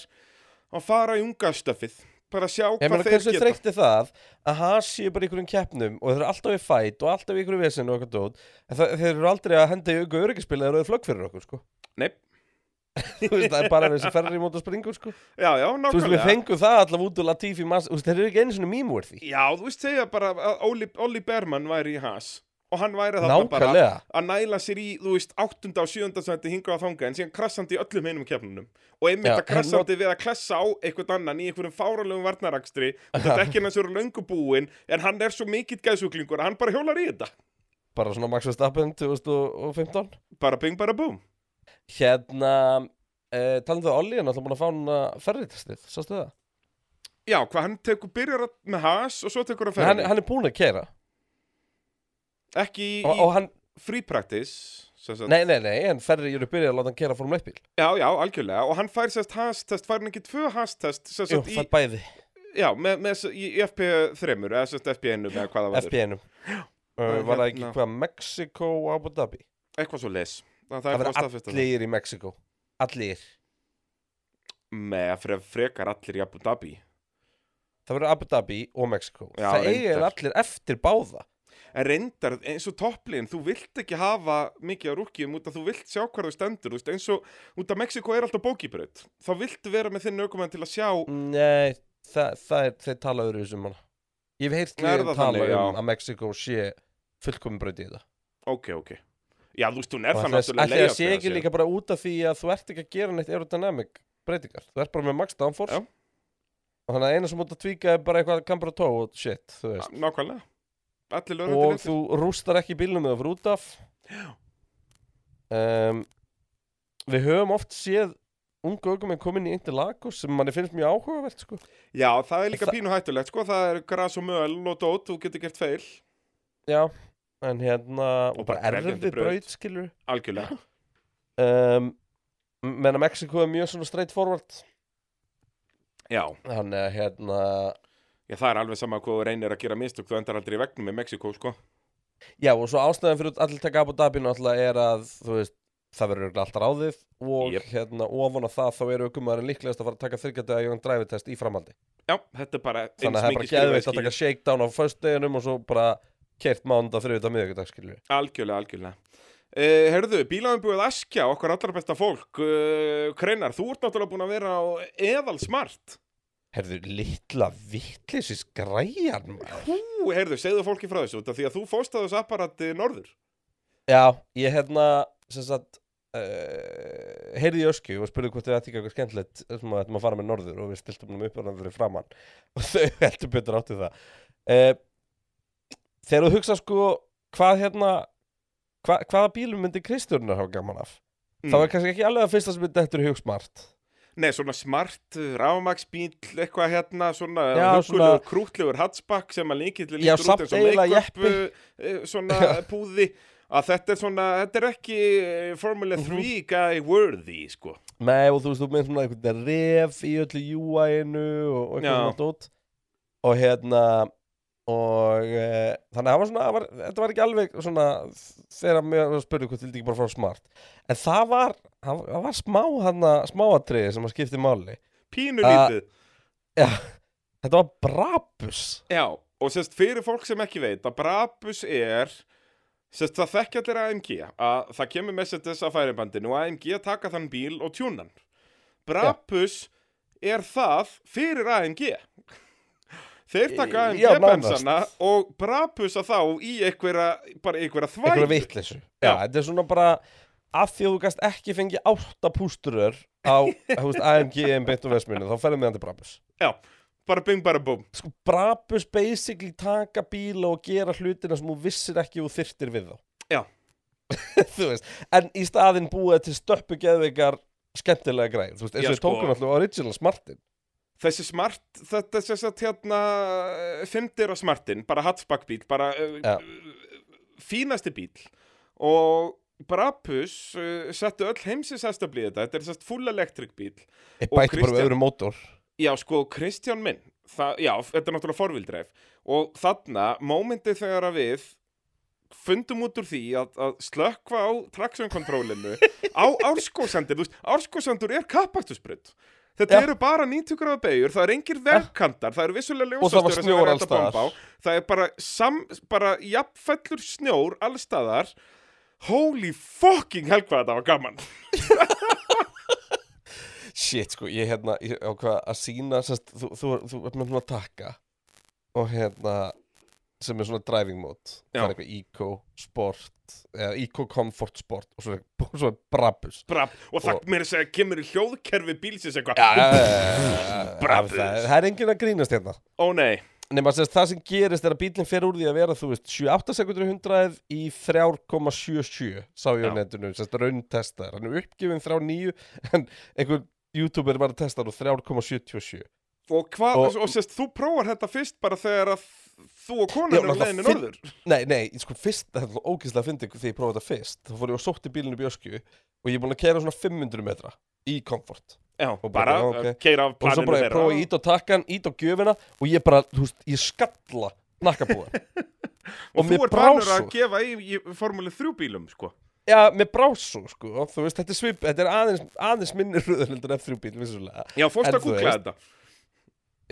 [SPEAKER 2] að fara í unga stöfið, bara sjá
[SPEAKER 1] Ég
[SPEAKER 2] hvað
[SPEAKER 1] meina
[SPEAKER 2] þeir
[SPEAKER 1] hversu
[SPEAKER 2] geta.
[SPEAKER 1] þreytti það að Haas séu bara í einhverjum keppnum og þeir eru alltaf í fæt og alltaf í einhverjum vesinu og eitthvað dót en það- þeir eru aldrei að henda í auka öryggispil eða rauð flögg fyrir okkur sko
[SPEAKER 2] Nei.
[SPEAKER 1] Þú veist, það er bara þessi ferri mót og springur sko Þú
[SPEAKER 2] Já, já,
[SPEAKER 1] veist, við
[SPEAKER 2] nákvæmlega.
[SPEAKER 1] fengum það allavega út úr Latifi Mas Þú veist, þeir eru ekki einu svona meme-worthy
[SPEAKER 2] Já, þú veist segja bara að Olli, Olli Berman væri í has og hann væri þarna bara
[SPEAKER 1] Nákvæmlega
[SPEAKER 2] að næla sér í, þú veist, 8. og 7. sendi hinga að þanga en síðan krassandi í öllum hinum kefnunum og einmitt
[SPEAKER 1] Já,
[SPEAKER 2] að krassandi við að klessa á einhvern annan í einhverjum fáralegum varnarakstri og þetta ekki hans eru löngubúin en hann er svo mikill gæðsuglingur að hann bara hjólar í þetta
[SPEAKER 1] Bara svona Max Verstappen 2015
[SPEAKER 2] bara bing bara búm
[SPEAKER 1] Hérna, uh, talandi það Olli er náttúrulega búin að fá hann ferritestið, sástu það?
[SPEAKER 2] Já, hvað hann tekur, byrjar að- með has og svo tekur hann
[SPEAKER 1] Hann,
[SPEAKER 2] ferðin
[SPEAKER 1] hann er búin að keira
[SPEAKER 2] ekki í
[SPEAKER 1] og, og hann,
[SPEAKER 2] free practice sem sagt.
[SPEAKER 1] nei, nei, nei, en ferri eru byrjað að láta hann keira formule 1 bíl
[SPEAKER 2] Já, já, algjörlega og hann fær sérst has-test, fær hann ekki tvö has-test sem
[SPEAKER 1] Jú,
[SPEAKER 2] sagt, í,
[SPEAKER 1] það bæði
[SPEAKER 2] Já, með, með, s- í í FP3 eða sérst FP1 eða hvað það var
[SPEAKER 1] FBN-um uh,
[SPEAKER 2] Og
[SPEAKER 1] Var það ekki
[SPEAKER 2] hérna-
[SPEAKER 1] hvað, Mexiko og Abu Dhabi?
[SPEAKER 2] eitthvað svo les það,
[SPEAKER 1] Það
[SPEAKER 2] er
[SPEAKER 1] verða
[SPEAKER 2] búið staðfest
[SPEAKER 1] allir í Mexiko Allir
[SPEAKER 2] með fre, frekar allir í Abu Dhabi
[SPEAKER 1] Það verður Abu Dhabi og Mexiko
[SPEAKER 2] Já,
[SPEAKER 1] Það
[SPEAKER 2] reyndar.
[SPEAKER 1] eiga allir eftir báða
[SPEAKER 2] en reyndar eins og topplin þú vilt ekki hafa mikið á rúkjum út að þú vilt sjá hvar þú stendur þú veist, eins og út að Mexiko er alltaf bókibraut þá viltu vera með þinn aukumann til að sjá
[SPEAKER 1] Nei, það, það er, þeir tala öðru um hana Ég hef heyrt
[SPEAKER 2] Er
[SPEAKER 1] liðin
[SPEAKER 2] það
[SPEAKER 1] tala
[SPEAKER 2] þannig, já.
[SPEAKER 1] um að Mexiko sé fullkomin braut í þetta
[SPEAKER 2] ok, ok já, þú veist, hún er
[SPEAKER 1] Og
[SPEAKER 2] það
[SPEAKER 1] ætli að-
[SPEAKER 2] náttúrulega
[SPEAKER 1] ætli að
[SPEAKER 2] layout
[SPEAKER 1] sé
[SPEAKER 2] með
[SPEAKER 1] ekki
[SPEAKER 2] þessu.
[SPEAKER 1] líka bara út af því að þú ert ekki að gera neitt aerodynamic breytingar Þú ert bara með Max Downforce
[SPEAKER 2] Já.
[SPEAKER 1] Og þannig að eina sem mútt að tvíka er bara eitthvað kambra tó og shit, þú veist
[SPEAKER 2] Ah, nákvæmlega allir lögur
[SPEAKER 1] og þú rústar ekki bílnum eða fyrir út af um, við höfum oft séð unga ögum en komin í Interlagos sem manni finnst mjög áhugavert sko.
[SPEAKER 2] já, það er líka
[SPEAKER 1] Þa-
[SPEAKER 2] pínu hættulegt sko, það er gras og möl og dót, þú getur gert feil
[SPEAKER 1] já, en hérna og,
[SPEAKER 2] Og bara
[SPEAKER 1] bara erfið
[SPEAKER 2] krefjandi braut.
[SPEAKER 1] braut skilur
[SPEAKER 2] algjörlega,
[SPEAKER 1] um, menna Mexiko er mjög svona straight forward
[SPEAKER 2] já
[SPEAKER 1] hann er hérna
[SPEAKER 2] Já, það er alveg sama hvað þú reynir að gera mistök, þú endar aldrei í vegnum með Mexiko, sko.
[SPEAKER 1] já og svo ástæðan fyrir allir taka Abu Dhabi náttúrulega er að þú veist það verður örugglega allt ráðið og
[SPEAKER 2] Jep.
[SPEAKER 1] hérna ofan á það þá eru ökumæðurinn líklegast að fara að taka þyrkjadega jónum dræfitest í framhaldi
[SPEAKER 2] Já, þetta er bara
[SPEAKER 1] þannig að það er bara
[SPEAKER 2] skilur við
[SPEAKER 1] geðveikt að
[SPEAKER 2] skilur.
[SPEAKER 1] taka shakedown á föstudeginum og svo bara kert mánda þriðut að miðvikudag skilur
[SPEAKER 2] Algjörlega, algjörlega. Uh, herðu, bílaðumbúið Askja, okkar allra besta fólk, uh, Kreinar, þú ert náttúrulega búin að vera á eðal smart.
[SPEAKER 1] herðu litla vittlisis græjan maður.
[SPEAKER 2] Hú, herðu, segðu fólki frá þessu, út af því að þú fóst að þessu apparati eh, norður.
[SPEAKER 1] já, ég hérna sem sagt Uh, heyrði í ösku og spurði hvort þau ætti ekki eitthvað skemmtilegt sem að ættum að fara með norður og við stiltum hann upp og hann fyrir framann og þau heldur betur áttu það uh, þegar þú hugsa sko hvað hérna hva, hvaða bílum myndi Kristjórnar hafa gaman af
[SPEAKER 2] Mm.
[SPEAKER 1] það var kannski ekki alveg að fyrsta sem myndi þetta er hugsmart
[SPEAKER 2] Nei, svona smart, rámagsbíl, eitthvað hérna, svona
[SPEAKER 1] Já,
[SPEAKER 2] huggulegur,
[SPEAKER 1] svona-
[SPEAKER 2] krútlegur hatchback sem að líkill
[SPEAKER 1] Já, samt
[SPEAKER 2] lítur út eins og
[SPEAKER 1] eiginlega
[SPEAKER 2] make-up uh, svona púði að þetta er svona, þetta er ekki eh, Formula
[SPEAKER 1] Mhm.
[SPEAKER 2] 3 guy worthy, sko.
[SPEAKER 1] Nei og þú veist, þú minnst svona einhvern ref í öllu UI-inu og, og
[SPEAKER 2] Já.
[SPEAKER 1] eitthvað svona dót og hérna og e, þannig að það var svona það var, þetta var ekki alveg svona þegar mér var að spurði hvað til þetta ekki bara frá smart en það var, það var- það var smá hana, smáatriði sem að skipti máli
[SPEAKER 2] Pínu
[SPEAKER 1] Ah.
[SPEAKER 2] lítið.
[SPEAKER 1] þetta var Brabus
[SPEAKER 2] Já, og sérst fyrir fólk sem ekki veit að Brabus er, sérst það þekkja allir AMG, að það kemur messages af færibandinu og AMG taka þann bíl og tjúnan. Brabus er það fyrir AMG. Þeir taka
[SPEAKER 1] Já, nánast.
[SPEAKER 2] AMG-bensana og Brabusa þá í einhverja, bara einhverja þvæg.
[SPEAKER 1] einhverja vitleysu Já,
[SPEAKER 2] Já.
[SPEAKER 1] þetta er svona bara af því að þú gast ekki fengið átta pústurur á þú veist, AMG einbytt og vesminu þá ferðum við hann til Brabus
[SPEAKER 2] Já, bara bing bara búm.
[SPEAKER 1] sko, Brabus basically taka bíla og gera hlutina sem þú vissir ekki og þyrtir við þá
[SPEAKER 2] Já.
[SPEAKER 1] Þú veist, en í staðinn búið til stöppu geðveikar skemmtilega græð, þú veist, eins
[SPEAKER 2] Já,
[SPEAKER 1] og við
[SPEAKER 2] sko.
[SPEAKER 1] tókum alltaf original smartin
[SPEAKER 2] þessi smart, þetta er sérst hérna fymdir á smartin, bara hatsbakkbíl, bara
[SPEAKER 1] Já.
[SPEAKER 2] uh, fínasti bíl og Brabus uh, settu öll heimsins aðstöfli í þetta, þetta er sérst full electric bíl
[SPEAKER 1] Ég
[SPEAKER 2] Og
[SPEAKER 1] bæti bara
[SPEAKER 2] Kristján-
[SPEAKER 1] við öðrum mótor
[SPEAKER 2] Já, sko, Kristján minn, það, já, þetta er náttúrulega forvildreif og þarna, mómentið þegar að við fundum út úr því að, að slökva á traksjónkontrólinu á árskósandir, þú veist, árskósandur er kappaktusbrudd. Þetta
[SPEAKER 1] Já. Ah.
[SPEAKER 2] eru bara 90 gráða beigur, það eru engir vegkantar, það eru vissulega
[SPEAKER 1] Og það var
[SPEAKER 2] ljósastöður sem
[SPEAKER 1] snjór
[SPEAKER 2] er hægt að
[SPEAKER 1] alls
[SPEAKER 2] bomba á. Það er bara, sam, bara jafnfellur snjór allstaðar. Holy fucking hell hvað þetta var gaman.
[SPEAKER 1] Shit, sko, ég hérna ég ákvað að sína sest, þú, þú, þú ert með svona takka og hérna sem er svona driving mode það
[SPEAKER 2] Já.
[SPEAKER 1] er eitthvað eco sport eða eco comfort sport og svo, er- svo er brabus
[SPEAKER 2] Brab, og það mér að segja, kemur í hljóðkerfi bílsins eitthvað.
[SPEAKER 1] Brabus
[SPEAKER 2] Brabus.
[SPEAKER 1] Það það er enginn að grínast hérna
[SPEAKER 2] Ó nei.
[SPEAKER 1] Nefna sérst það sem gerist er að bílinn fer úr því að vera þú veist 78 sekundur í 100 í 3,77 sá ég á
[SPEAKER 2] Já.
[SPEAKER 1] netinu sérst rauntestar hann er uppgefin 3,9 en einhver youtuber var að testa hann og 3,77
[SPEAKER 2] Og hvað,
[SPEAKER 1] Og-
[SPEAKER 2] og, og sérst, þú prófar þetta fyrst bara þegar að þú og
[SPEAKER 1] Já,
[SPEAKER 2] konan eru á
[SPEAKER 1] náttúrulega
[SPEAKER 2] leiðinni
[SPEAKER 1] finn-
[SPEAKER 2] norður.
[SPEAKER 1] Nei, nei, sko fyrst, það er ógeðslega að fyndi þegar ég prófaði þetta fyrst, þá fór ég og sótti bílinu bjöskju og ég er búin að kæra svona 500 metra í komfort
[SPEAKER 2] Já,
[SPEAKER 1] Og bara,
[SPEAKER 2] bara
[SPEAKER 1] já, ok.
[SPEAKER 2] okay. keira af
[SPEAKER 1] og svo
[SPEAKER 2] planinu
[SPEAKER 1] bara ég prófa ít á takkan, ít á gjöfina og ég bara, þú veist, ég skalla nakkabúðan og
[SPEAKER 2] og þú
[SPEAKER 1] mér
[SPEAKER 2] er bánur
[SPEAKER 1] brá
[SPEAKER 2] að
[SPEAKER 1] svo.
[SPEAKER 2] gefa í, í formúli 3 bílum, sko.
[SPEAKER 1] Já, með brásu, sko, og þú veist, þetta er svip, þetta er aðeins, aðeins minni röður heldur en F3 bíl, vissulega
[SPEAKER 2] Já, fórst
[SPEAKER 1] En
[SPEAKER 2] að
[SPEAKER 1] þú
[SPEAKER 2] googla
[SPEAKER 1] veist-
[SPEAKER 2] þetta.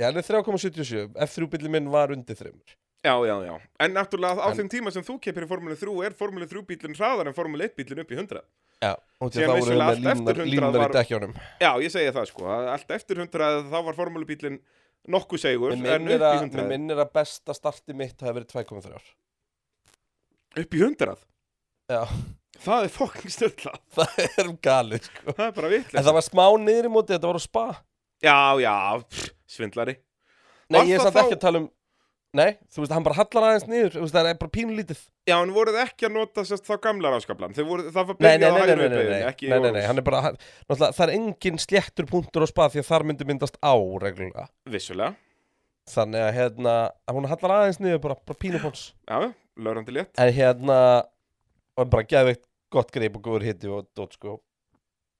[SPEAKER 1] Já, hann er 3,77, F3 bílinn minn var undir þreymur
[SPEAKER 2] Já, já, já. En náttúrulega á
[SPEAKER 1] En-
[SPEAKER 2] þeim tíma sem þú keppir í formúli 3 er formúli 3 bílinn hraðar en formúli 1 bílinn upp í 100.
[SPEAKER 1] Já, og því að þá
[SPEAKER 2] Síðan
[SPEAKER 1] voru
[SPEAKER 2] vissulega
[SPEAKER 1] við með
[SPEAKER 2] allt eftir
[SPEAKER 1] línar,
[SPEAKER 2] 100
[SPEAKER 1] línar
[SPEAKER 2] var-
[SPEAKER 1] í dekkjánum
[SPEAKER 2] Já, ég segi það, sko. að Allt eftir 100 þá var formúli bílinn nokkuð segur
[SPEAKER 1] Mér
[SPEAKER 2] en upp í
[SPEAKER 1] minnir að-
[SPEAKER 2] 100.
[SPEAKER 1] mig minnir að besta starti mitt hafi verið 2,3
[SPEAKER 2] Upp í 100.
[SPEAKER 1] Já
[SPEAKER 2] Það er fokking styrla.
[SPEAKER 1] það er um galið sko.
[SPEAKER 2] Það er bara
[SPEAKER 1] en
[SPEAKER 2] vitlega.
[SPEAKER 1] það var smá niður í móti, þetta var á spa
[SPEAKER 2] Já, já, pff, svindlari.
[SPEAKER 1] nei,
[SPEAKER 2] Var
[SPEAKER 1] ég er
[SPEAKER 2] það
[SPEAKER 1] samt
[SPEAKER 2] þá-
[SPEAKER 1] ekki að tala um nei, þú veist, hann bara hallar aðeins niður þú veist, það er bara pínulítið nei,
[SPEAKER 2] Já, en voruð þið ekki að nota sérst þá gamla ráskablan? Þið voruð, það var
[SPEAKER 1] nei, nei,
[SPEAKER 2] byrjað á
[SPEAKER 1] nei, nei,
[SPEAKER 2] hægri
[SPEAKER 1] nei, nei,
[SPEAKER 2] beygju,
[SPEAKER 1] nei,
[SPEAKER 2] ekki
[SPEAKER 1] nei, nei, nei hann er bara, hann, náttúrulega, það er engin sléttur punktur á spa því að þar myndi myndast á reglulega
[SPEAKER 2] Vissulega,
[SPEAKER 1] þannig að hérna, að hún hallar aðeins niður bara, bara pínupons
[SPEAKER 2] já, laurandi létt.
[SPEAKER 1] en hérna, og bara geðveikt gott greip og góður hitti og dót sko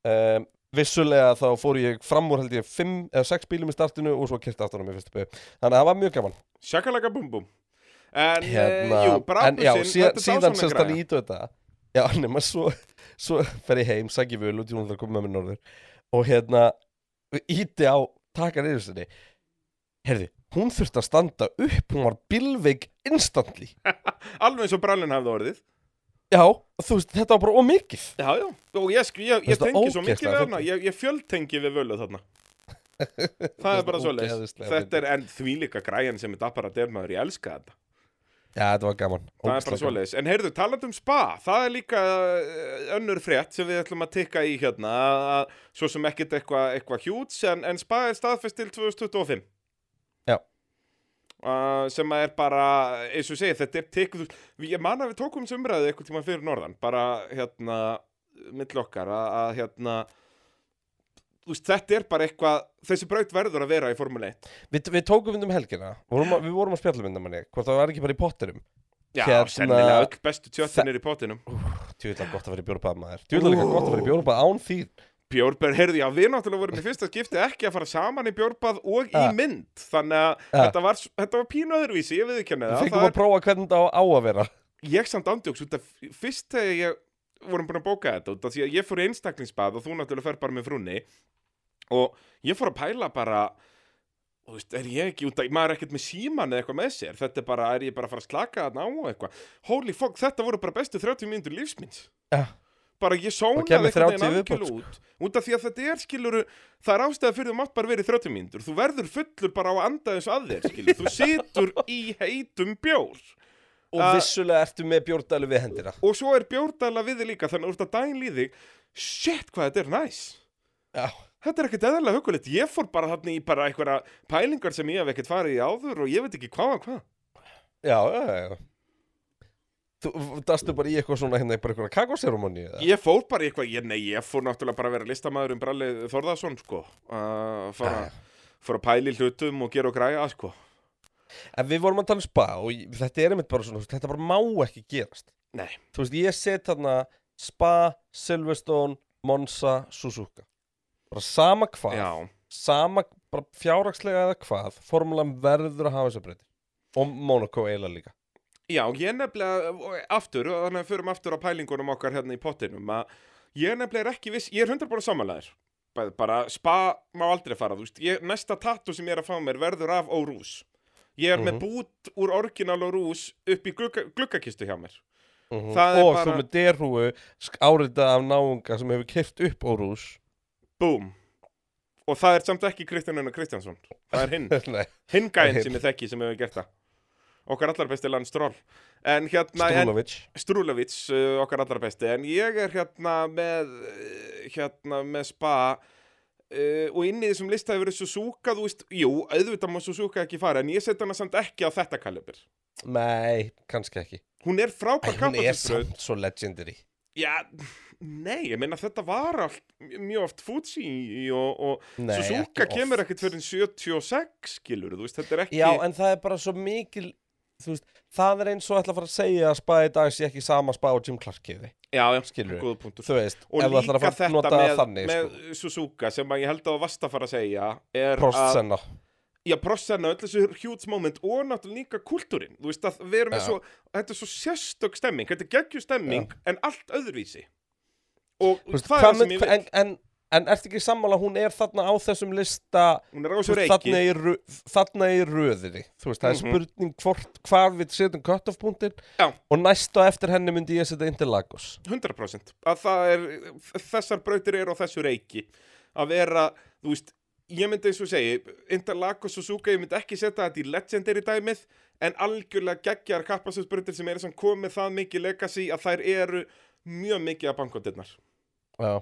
[SPEAKER 1] um, vissulega þá fór ég fram úr held ég 5 eða 6 bílum í startinu og svo kerti aftanum í fyrstu beigju þannig að það var mjög gaman
[SPEAKER 2] Sjakalaka bum bum. En,
[SPEAKER 1] hérna,
[SPEAKER 2] eh,
[SPEAKER 1] en
[SPEAKER 2] jú,
[SPEAKER 1] já,
[SPEAKER 2] brabusinn,
[SPEAKER 1] síðan,
[SPEAKER 2] þetta er
[SPEAKER 1] síðan
[SPEAKER 2] dásamleg
[SPEAKER 1] semst hann
[SPEAKER 2] græja.
[SPEAKER 1] ítu þetta já, nema svo svo fer ég heim, sæk ég völu, tjónum það komið með mér norður og hérna íti á taka niður sinni herði, hún þurfti að standa upp hún var bilveik instantly
[SPEAKER 2] Alveg eins og brallin hafði orðið.
[SPEAKER 1] já, þú veist, þetta var bara ómikið
[SPEAKER 2] Já, já, og ég, sk-
[SPEAKER 1] Mér
[SPEAKER 2] ég, ég
[SPEAKER 1] finnst það
[SPEAKER 2] tengi svo mikið
[SPEAKER 1] ógeðslega
[SPEAKER 2] við hana,
[SPEAKER 1] fyndið.
[SPEAKER 2] ég, ég fjöldtengi við völu þarna. Það er
[SPEAKER 1] finnst
[SPEAKER 2] bara
[SPEAKER 1] það
[SPEAKER 2] svo leis.
[SPEAKER 1] ógeðslega
[SPEAKER 2] Þetta er enn þvílika græjan sem þetta bara dermaður, ég elska þetta.
[SPEAKER 1] já, þetta var gaman
[SPEAKER 2] Það er
[SPEAKER 1] ógeðslega
[SPEAKER 2] bara svoleiðis. En heyrðu, talandi um spa, það er líka eh, önnur frétt sem við ætlum að tikka í hérna, að- að, svo sem ekkert eitthvað eitthva hjúts, en, en spa er staðfest til 2025.
[SPEAKER 1] Já.
[SPEAKER 2] Uh, sem að er bara, eins og ég segi, þetta er tikkuð, ég man að við tókum sem umræðu eitthvað tíma fyrir norðan, bara hérna, mittl okkar, að, að hérna, þú veist, þetta er bara eitthvað, þessi braut verður að vera í Formule 1.
[SPEAKER 1] Við, við tókum mynd um helgina, vorum að, við vorum að spjalla mynda manni hvort það var ekki bara í potterum
[SPEAKER 2] Já,
[SPEAKER 1] Hérna-
[SPEAKER 2] sennilega öll bestu tjöttinir í potinum.
[SPEAKER 1] tjóðlega gott að vera í bjórubað maður tjóðlega líka gott að vera í bjórubað án þín
[SPEAKER 2] Bjórbað, heyrðu, já, við náttúrulega vorum í fyrsta skipti ekki að fara saman í bjórbað og í
[SPEAKER 1] Ja.
[SPEAKER 2] mynd þannig að
[SPEAKER 1] Ja.
[SPEAKER 2] þetta var, þetta var pínu öðruvísi, ég viðurkenni
[SPEAKER 1] Eh, við
[SPEAKER 2] það,
[SPEAKER 1] fengum
[SPEAKER 2] það
[SPEAKER 1] að prófa hvernig það á á að vera
[SPEAKER 2] er ég samt andjóks, út af fyrst þegar ég vorum búin að bóka þetta, út af því að ég fór í einstaklingsbað og þú náttúrulega fer bara með frunni og ég fór að pæla bara þú veist, er ég ekki út að, maður er ekkert með síman eða eitthvað með sér, þetta er bara, er ég bara að fara að slaka þarna á og eitthvað, holy fuck, þetta voru bara bestu 30 mínútur lífsminns
[SPEAKER 1] Já.
[SPEAKER 2] bara ég sónaði
[SPEAKER 1] kemur
[SPEAKER 2] einhvern
[SPEAKER 1] 30
[SPEAKER 2] veginn algjörlega
[SPEAKER 1] viðbót, sko.
[SPEAKER 2] út út af því að þetta er skiluru það er ástæða fyrir þú mátt bara verið 30 mínútur þú verður fullur bara á að anda þessu að þér skilur þú situr í heitum bjór
[SPEAKER 1] og
[SPEAKER 2] Að-
[SPEAKER 1] vissulega ertu með bjórdælu við hendina
[SPEAKER 2] og svo er bjórdala við þig líka þannig að þú ert að daginn líði shit hvað þetta er næs
[SPEAKER 1] Já.
[SPEAKER 2] þetta er ekkert eðalega hugulegt ég fór bara þarna í bara einhverja pælingar sem ég hef ekkert farið í áður og ég veit ekki hvað og hvað
[SPEAKER 1] Já, já, já, já Þú dastu bara í eitthvað svona hérna í bara eitthvað kakoserumóni eða?
[SPEAKER 2] ég fór bara í eitthvað, ég, nei ég fór náttúrulega bara að vera listamaður um Bralli Þorðarsson sko að fara
[SPEAKER 1] Já,
[SPEAKER 2] fór að pæli hlutum og gera og græja sko.
[SPEAKER 1] En við vorum að tala um spa og ég- þetta er einmitt bara svona, þú veist, þetta bara má ekki gerast.
[SPEAKER 2] Nei.
[SPEAKER 1] Þú veist, ég set þarna spa, Silverstone, Monza, Suzuka. Bara sama hvað,
[SPEAKER 2] Já,
[SPEAKER 1] sama bara fjárhagslega eða hvað, formulan verður að hafa þessa breyti. Og Monaco eiginlega líka.
[SPEAKER 2] já, ég nefnilega og aftur, og þannig að förum aftur á pælingunum okkar hérna í pottinum að ég nefnilega er ekki viss, ég er 100% samanlegaður bara, bara spa má aldrei fara, þú veist ég, næsta tattu sem ég er að fá mér verður af órús ég er
[SPEAKER 1] Mhm.
[SPEAKER 2] með bút úr orginal órús upp í glugga, gluggakistu hjá mér
[SPEAKER 1] Mm
[SPEAKER 2] Það er
[SPEAKER 1] Og
[SPEAKER 2] bara-
[SPEAKER 1] svo með derhúu árita af náunga sem hefur keft upp órús.
[SPEAKER 2] Búm Og það er samt ekki Kristján Unnar Kristjánsson Það er hinn,
[SPEAKER 1] Nei,
[SPEAKER 2] hinn gæðin sem ég þekki sem hefur gert það Okkar allar besti land Stroll En hérna, en,
[SPEAKER 1] Strúlovic.
[SPEAKER 2] Strúlavits uh, okkar allar besti En ég er hérna með uh, Hérna með spa uh, Og inn í þessum lista hefur verið Suzuka Þú veist, jú, auðvitað má Suzuka ekki fara En ég set hana samt ekki á þetta kalibur
[SPEAKER 1] Nei, kannski ekki.
[SPEAKER 2] Hún er
[SPEAKER 1] Æ,
[SPEAKER 2] frábær
[SPEAKER 1] hún er
[SPEAKER 2] kapatisbröð
[SPEAKER 1] samt svo legendary.
[SPEAKER 2] Já, nei, ég meina þetta var allt, mjög oft Fuji og, og
[SPEAKER 1] Nei,
[SPEAKER 2] Suzuka
[SPEAKER 1] ekki
[SPEAKER 2] kemur
[SPEAKER 1] oft.
[SPEAKER 2] ekkert fyrir 76 skilur, þú veist, þetta er ekki
[SPEAKER 1] Já, en það er bara svo mikil þú veist, það er eins og ætla að fara að segja að spaði í dag sé ekki sama spa og Jim Clark kefi
[SPEAKER 2] já, já,
[SPEAKER 1] skilurðu.
[SPEAKER 2] góða punktur
[SPEAKER 1] þú veist,
[SPEAKER 2] og
[SPEAKER 1] ef það ætlar að fara
[SPEAKER 2] líka
[SPEAKER 1] að
[SPEAKER 2] þetta
[SPEAKER 1] nota
[SPEAKER 2] með,
[SPEAKER 1] það þannig
[SPEAKER 2] með
[SPEAKER 1] sko.
[SPEAKER 2] Suzuka sem að ég held að það vast að fara að segja er
[SPEAKER 1] Prost
[SPEAKER 2] að,
[SPEAKER 1] senna
[SPEAKER 2] já, prosenna, öll þessu huge moment og náttúrulega líka kultúrin, þú veist að við erum með
[SPEAKER 1] Já.
[SPEAKER 2] svo, þetta er svo sérstök stemming þetta er geggjur stemming, en allt öðruvísi og
[SPEAKER 1] Þú veist,
[SPEAKER 2] það er
[SPEAKER 1] hvað
[SPEAKER 2] það sem
[SPEAKER 1] með-
[SPEAKER 2] ég vil
[SPEAKER 1] en, en, en ertu ekki sammála að hún er þarna á þessum lista
[SPEAKER 2] hún er á
[SPEAKER 1] þú
[SPEAKER 2] þessu
[SPEAKER 1] veist,
[SPEAKER 2] reiki
[SPEAKER 1] þarna, í, rö- þarna í röðinni þú veist, það
[SPEAKER 2] Mhm.
[SPEAKER 1] er spurning hvort hvar við setjum cut-off punktin
[SPEAKER 2] Já.
[SPEAKER 1] og næst á eftir henni myndi ég setja Interlagos
[SPEAKER 2] 100% að það er, þessar brautir eru á þessu reiki að vera, þú veist ég myndi eins og segi, Interlagos Suzuka ég myndi ekki setja þetta í legendary dæmið en algjörlega geggjar kappastöðsbrautir sem eru sem komið það mikið legacy að þær eru mjög mikið að bankotinnar
[SPEAKER 1] Já.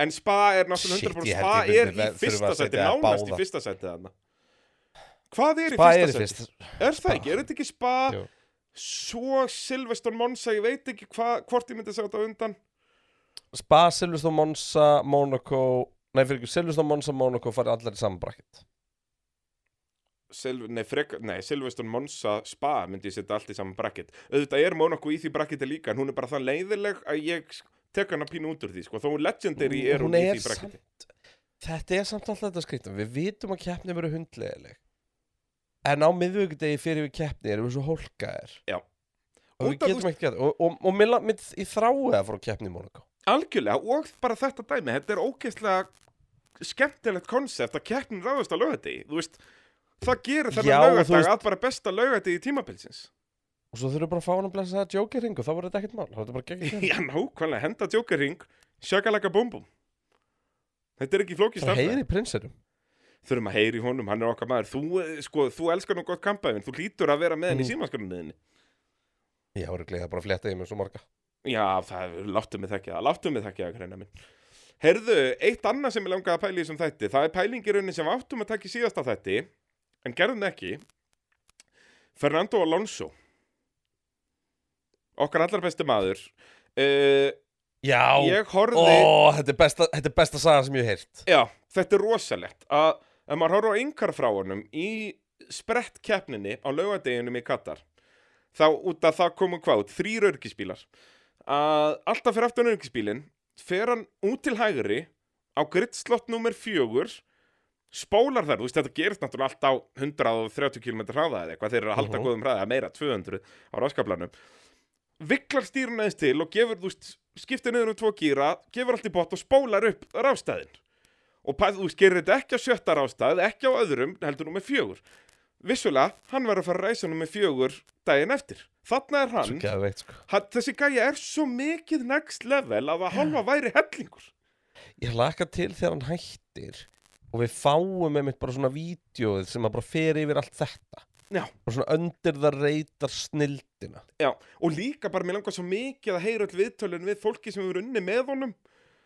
[SPEAKER 2] en Spa er náttúrulega
[SPEAKER 1] Shit,
[SPEAKER 2] 100%
[SPEAKER 1] ég held
[SPEAKER 2] Spa
[SPEAKER 1] ég myndi
[SPEAKER 2] er í
[SPEAKER 1] ver- þurfa
[SPEAKER 2] fyrsta
[SPEAKER 1] að
[SPEAKER 2] sæti,
[SPEAKER 1] setja
[SPEAKER 2] nánast
[SPEAKER 1] báða.
[SPEAKER 2] í fyrsta sæti þarna hvað er í
[SPEAKER 1] Spa er í
[SPEAKER 2] fyrsta sæti?
[SPEAKER 1] fyrst
[SPEAKER 2] Er það
[SPEAKER 1] Spa.
[SPEAKER 2] ekki? Er þetta ekki Spa?
[SPEAKER 1] Jú.
[SPEAKER 2] Svo Silveston Monsa, ég veit ekki hva, hvort ég myndi segja þetta á undan
[SPEAKER 1] Spa, Silveston, Monza, Monaco Nei, fyrir ekki, Silveston, Monza, Monaco fari allar í saman bracket
[SPEAKER 2] Silv, nei, frek, nei, Silveston Monsa Spa myndi ég setja allt í saman bracket auðvitað er Monaco í því bracketi líka en hún er bara það leiðileg að ég tek hana pínu út úr því sko. þó hún legendary
[SPEAKER 1] Hún-
[SPEAKER 2] er hún,
[SPEAKER 1] hún
[SPEAKER 2] í
[SPEAKER 1] er
[SPEAKER 2] því bracketi
[SPEAKER 1] Þetta er samt alltaf þetta skrýtum Við vitum að keppni verður hundlegileg En á miðvíkudegi fyrir við keppni erum við svo hólkaðir
[SPEAKER 2] Já.
[SPEAKER 1] Og við
[SPEAKER 2] Út af-
[SPEAKER 1] getum ekkert gert Og, og, og mér, la- mér, ég þrái að fara á keppni í Monaco
[SPEAKER 2] algjörlega og bara þetta dæmi þetta er ógeðslega skemmtilegt konsept að keppnin ráðast á lögati þú veist það gerir
[SPEAKER 1] Já,
[SPEAKER 2] þennan
[SPEAKER 1] og þú
[SPEAKER 2] lögadag
[SPEAKER 1] veist-
[SPEAKER 2] að bara besta lögati í tímabilsins
[SPEAKER 1] Og svo þurfum við bara að fá hann að blessa það jókering Og þá verður þetta ekkert mál Þá er þetta bara gegn keppni
[SPEAKER 2] já nákvæmlega henda djókerring sjökalaka búmbum þetta er ekki flókist
[SPEAKER 1] Það heyri prinsinum
[SPEAKER 2] þurfum að heyri honum, hann er okkar maður þú, eh, sko, þú elskar nú gott kampaðin, þú lítur að vera með henni í
[SPEAKER 1] Mm.
[SPEAKER 2] símaskarnuðinni
[SPEAKER 1] Já, eru gleðið bara að fletta í mig svo marga
[SPEAKER 2] já, það láttu mig þekkja, það, láttu mig þekkja greina minn herðu, eitt annað sem ég langaði að pæla í þessum þætti, það er pælingirunni sem við áttum að taka í síðasta þætti en gerðum það ekki Fernando Alonso okkar allar besti maður uh,
[SPEAKER 1] Já,
[SPEAKER 2] ég horfði
[SPEAKER 1] ó, þetta er besta, þetta er besta saga sem ég hef heyrt
[SPEAKER 2] Já, þetta er rosalegt að ef maður horfður á yngar frá honum í sprett keppninni á laugardeginum í Katar þá út að það komu hvað, þrýr örgisbílar að alltaf fyrir aftan örgisbílin fer hann út til hægri á gridslott nummer fjögur spólar þar, þú veist þetta gerist náttúrulega allt á 130 km hraða eða eitthvað, þeir eru að halda
[SPEAKER 1] Mhm.
[SPEAKER 2] góðum hraða eða meira 200 á ráskaplanum viklar stýrun aðeins til og gefur, þú veist, skiptir niður um tvo gíra gefur allt í bótt og spólar upp rástæðin og pæ- þú veist, gerir þetta ekki á sjötta rástað, ekki á öðrum, heldur nú með fjögur. Vissulega, hann verður að fara að ræsa nú með fjögur daginn eftir. Þarna er
[SPEAKER 1] Svo
[SPEAKER 2] hann,
[SPEAKER 1] geðveikt, sko.
[SPEAKER 2] hann þessi gæja er svo mikið next level að það halva væri hellingur.
[SPEAKER 1] ég laka til þegar hann hættir og við fáum einmitt bara svona vídjóið sem að bara fer yfir allt þetta
[SPEAKER 2] Já.
[SPEAKER 1] og svona undir það reytar snildina
[SPEAKER 2] Já, og líka bara mér langar svo mikið að heyra öll viðtölun við fólki sem hefur unni með honum.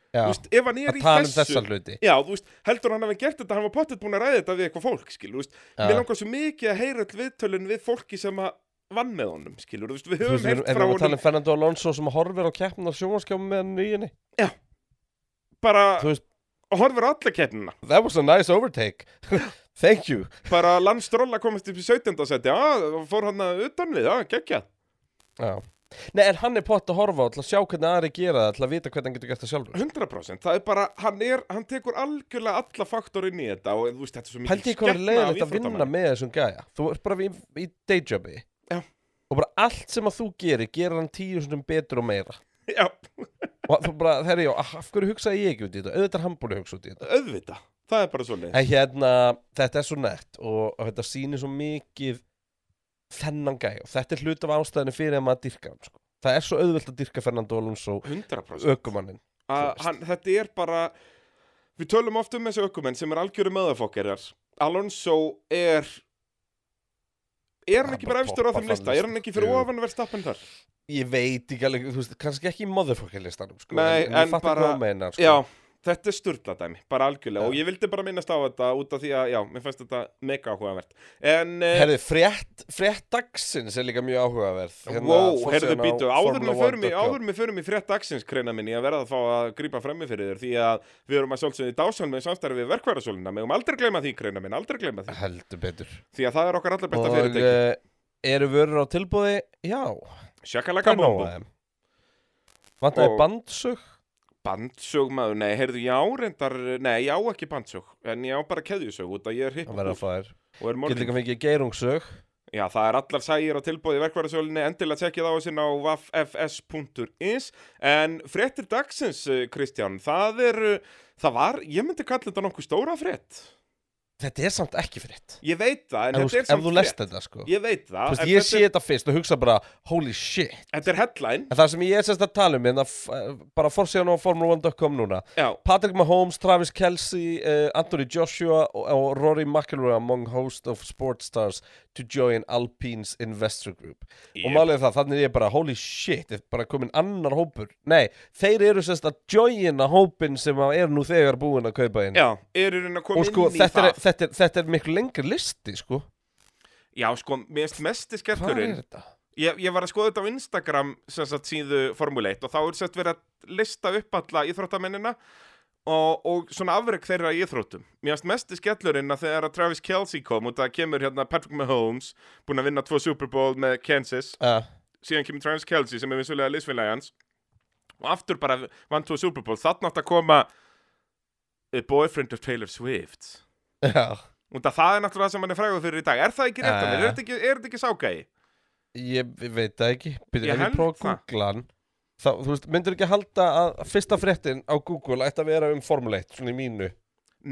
[SPEAKER 1] Já,
[SPEAKER 2] Þú veist, ef hann er
[SPEAKER 1] að
[SPEAKER 2] í
[SPEAKER 1] tala um
[SPEAKER 2] þessu...
[SPEAKER 1] þessa hluti
[SPEAKER 2] Já, þú veist, heldur hann hafi gert þetta, hann var pottet búin að ræða þetta við eitthvað fólk, skilur, þú veist, mér
[SPEAKER 1] Já.
[SPEAKER 2] langar svo mikið að heyra öll viðtölun við fólki sem að vann með honum, skilur, þú veist, við
[SPEAKER 1] Þú
[SPEAKER 2] höfum
[SPEAKER 1] veist, ef við
[SPEAKER 2] heyrt frá
[SPEAKER 1] erum að
[SPEAKER 2] honum
[SPEAKER 1] tala um Fernando Alonso sem horfir á keppnum á sjónvarskjáma með hann nýjunni
[SPEAKER 2] bara
[SPEAKER 1] Þú veist, Ah.
[SPEAKER 2] og horfir á alla keppnina
[SPEAKER 1] that was a nice overtake Thank you
[SPEAKER 2] bara landstróla komist upp í 17. seti já, og fór hann að utan við, já, geggja
[SPEAKER 1] Já Nei, en hann er pott að horfa á til að sjá hvernig aðri gera það til að vita hvernig hann getur gert það sjálfur
[SPEAKER 2] 100% það er bara, hann er, hann tekur algjörlega alla faktor inn í þetta og þú veist, þetta er svo mikið
[SPEAKER 1] Pældi ég hvað er leiðilegt að vinna með þessum gæja Þú ert bara í, í dayjobi
[SPEAKER 2] Já.
[SPEAKER 1] Og bara allt sem að þú gerir gerir hann tíu sinnum betur og meira
[SPEAKER 2] já,
[SPEAKER 1] Og þú bara, þegar ég, af hverju hugsaði ég ekki út í þetta Auðvitað er hann búin að hugsa út í þetta
[SPEAKER 2] auðvita, það er bara svo leið
[SPEAKER 1] En hérna, þetta er svo nett og, og þetta sýnir svo mikið þennan gæja og þetta er hlut af ástæðinu fyrir að maður dyrka hann sko. Það er svo auðvelt að dyrka Fernando Alonso
[SPEAKER 2] 100%
[SPEAKER 1] ökumanninn
[SPEAKER 2] að
[SPEAKER 1] þú veist.
[SPEAKER 2] hann, þetta er bara við tölum oft um þessi ökumenn sem er algjöru möðafokkerjar Alonso er er
[SPEAKER 1] Hann
[SPEAKER 2] hann ekki bara
[SPEAKER 1] bara
[SPEAKER 2] efstur á
[SPEAKER 1] toppar
[SPEAKER 2] þeim
[SPEAKER 1] þann
[SPEAKER 2] lista er hann ekki fyrir
[SPEAKER 1] Jú.
[SPEAKER 2] ofan verðstappen þar
[SPEAKER 1] Ég veit ekki alveg, þú veist, kannski ekki í motherfucker listanum sko,
[SPEAKER 2] Nei,
[SPEAKER 1] en, en,
[SPEAKER 2] en
[SPEAKER 1] ég fatta
[SPEAKER 2] bara-
[SPEAKER 1] hvað þú meinar, sko.
[SPEAKER 2] já, þetta er sturla dæmi, bara algjörlega
[SPEAKER 1] Já.
[SPEAKER 2] og ég vildi bara minnast á þetta út af því að, já, mér fannst þetta mega áhugavert en, eh,
[SPEAKER 1] Herðu, frétt, frétt dagsins er líka mjög áhugaverð
[SPEAKER 2] wow,
[SPEAKER 1] forsíðan
[SPEAKER 2] herðu
[SPEAKER 1] hérna, á
[SPEAKER 2] býtu áður
[SPEAKER 1] Formula
[SPEAKER 2] með förum í,
[SPEAKER 1] 1.com.
[SPEAKER 2] áður með förum í frétt dagsins kreina minni að verða að fá að grípa fremmi fyrir þér því að við erum að sjálfsögðu í dásan með samstarfi við verkværasólina, megum aldrei gleyma því kreina minn, aldrei gleyma því,
[SPEAKER 1] Heldur betur
[SPEAKER 2] því að það er okkar allar besta
[SPEAKER 1] Og
[SPEAKER 2] fyrirtæki
[SPEAKER 1] uh, eru vörur á tilbúði? Já,
[SPEAKER 2] Sjakalaka
[SPEAKER 1] hvað nóg
[SPEAKER 2] bombo
[SPEAKER 1] að þeim? Vantaði
[SPEAKER 2] Og-
[SPEAKER 1] bandsug?
[SPEAKER 2] Bandsög maður, nei, heyrðu, já, reyndar Nei, já, ekki bandsög, en já, bara keðjusög Út að ég er hipp
[SPEAKER 1] Það verða að fá þér
[SPEAKER 2] og er
[SPEAKER 1] Getur
[SPEAKER 2] morgun
[SPEAKER 1] líka fengið geirungsug
[SPEAKER 2] Já, það er allar sægir á tilbúið í verkvarðasölinni Endilega tjekkið á þessin á www.fs.is En fréttir dagsins, eh, Kristján Það er, eh, það var, ég myndi kalla þetta nokkuð stóra frétt
[SPEAKER 1] Þetta er samt ekki frétt
[SPEAKER 2] Ég veit það, en
[SPEAKER 1] Ef þú-
[SPEAKER 2] þetta er
[SPEAKER 1] ef
[SPEAKER 2] samt
[SPEAKER 1] þú lest þetta sko
[SPEAKER 2] Ég veit það,
[SPEAKER 1] Þú veist,
[SPEAKER 2] en
[SPEAKER 1] Ég sé
[SPEAKER 2] þetta,
[SPEAKER 1] þetta fyrst og hugsa bara Holy shit
[SPEAKER 2] er, þetta er headline
[SPEAKER 1] En það sem ég er sérst að tala um hérna, f- eh, bara fórsíðan á Formula1.com núna
[SPEAKER 2] Já,
[SPEAKER 1] Patrick Mahomes, Travis Kelsey, uh, Anthony Joshua og, og Rory McIlroy among host of sports stars to join Alpine's investor group og
[SPEAKER 2] Yep.
[SPEAKER 1] málið er það, þannig er ég bara holy shit, þetta er bara komin annar hópur nei, þeir eru sérst að joina hópin sem að er nú þegar búin að kaupa inn
[SPEAKER 2] já, er í raun að koma
[SPEAKER 1] og sko,
[SPEAKER 2] inn í
[SPEAKER 1] þetta
[SPEAKER 2] það
[SPEAKER 1] er, þetta, er, þetta er miklu lengri listi sko,
[SPEAKER 2] Já, sko, mér erst mesti
[SPEAKER 1] hvað
[SPEAKER 2] skerturinn
[SPEAKER 1] er þetta?
[SPEAKER 2] Ég, ég var að skoða þetta á Instagram sem sagt síðu Formule 1 og þá er sett verið að lista upp alla íþróttamennina og, og svona afreg þeirra í íþróttum. Mér finnst mest í skellurinn að þegar að Travis Kelsey kom og það kemur hérna Patrick Mahomes, búinn að vinna tvo Super Bowl með Kansas,
[SPEAKER 1] Uh,
[SPEAKER 2] síðan kemur Travis Kelsey sem er vissulega liðsfélagi hans og aftur bara vann tvo Super Bowl. Þannig átt að koma A Boyfriend of Taylor Swift.
[SPEAKER 1] já,
[SPEAKER 2] Og það, það er náttúrulega það sem hann er frægur fyrir í dag. Er það ekki rétt að mér?
[SPEAKER 1] Eh.
[SPEAKER 2] Er þetta ekki, er þetta ekki ságægi?
[SPEAKER 1] ég veit það ekki
[SPEAKER 2] Ég
[SPEAKER 1] byrja, ef
[SPEAKER 2] held
[SPEAKER 1] ég prófa að
[SPEAKER 2] það.
[SPEAKER 1] googla hann þá, þú veist, myndur ekki halda að fyrsta fréttin á Google ætti að vera um Formule 1, svona í mínu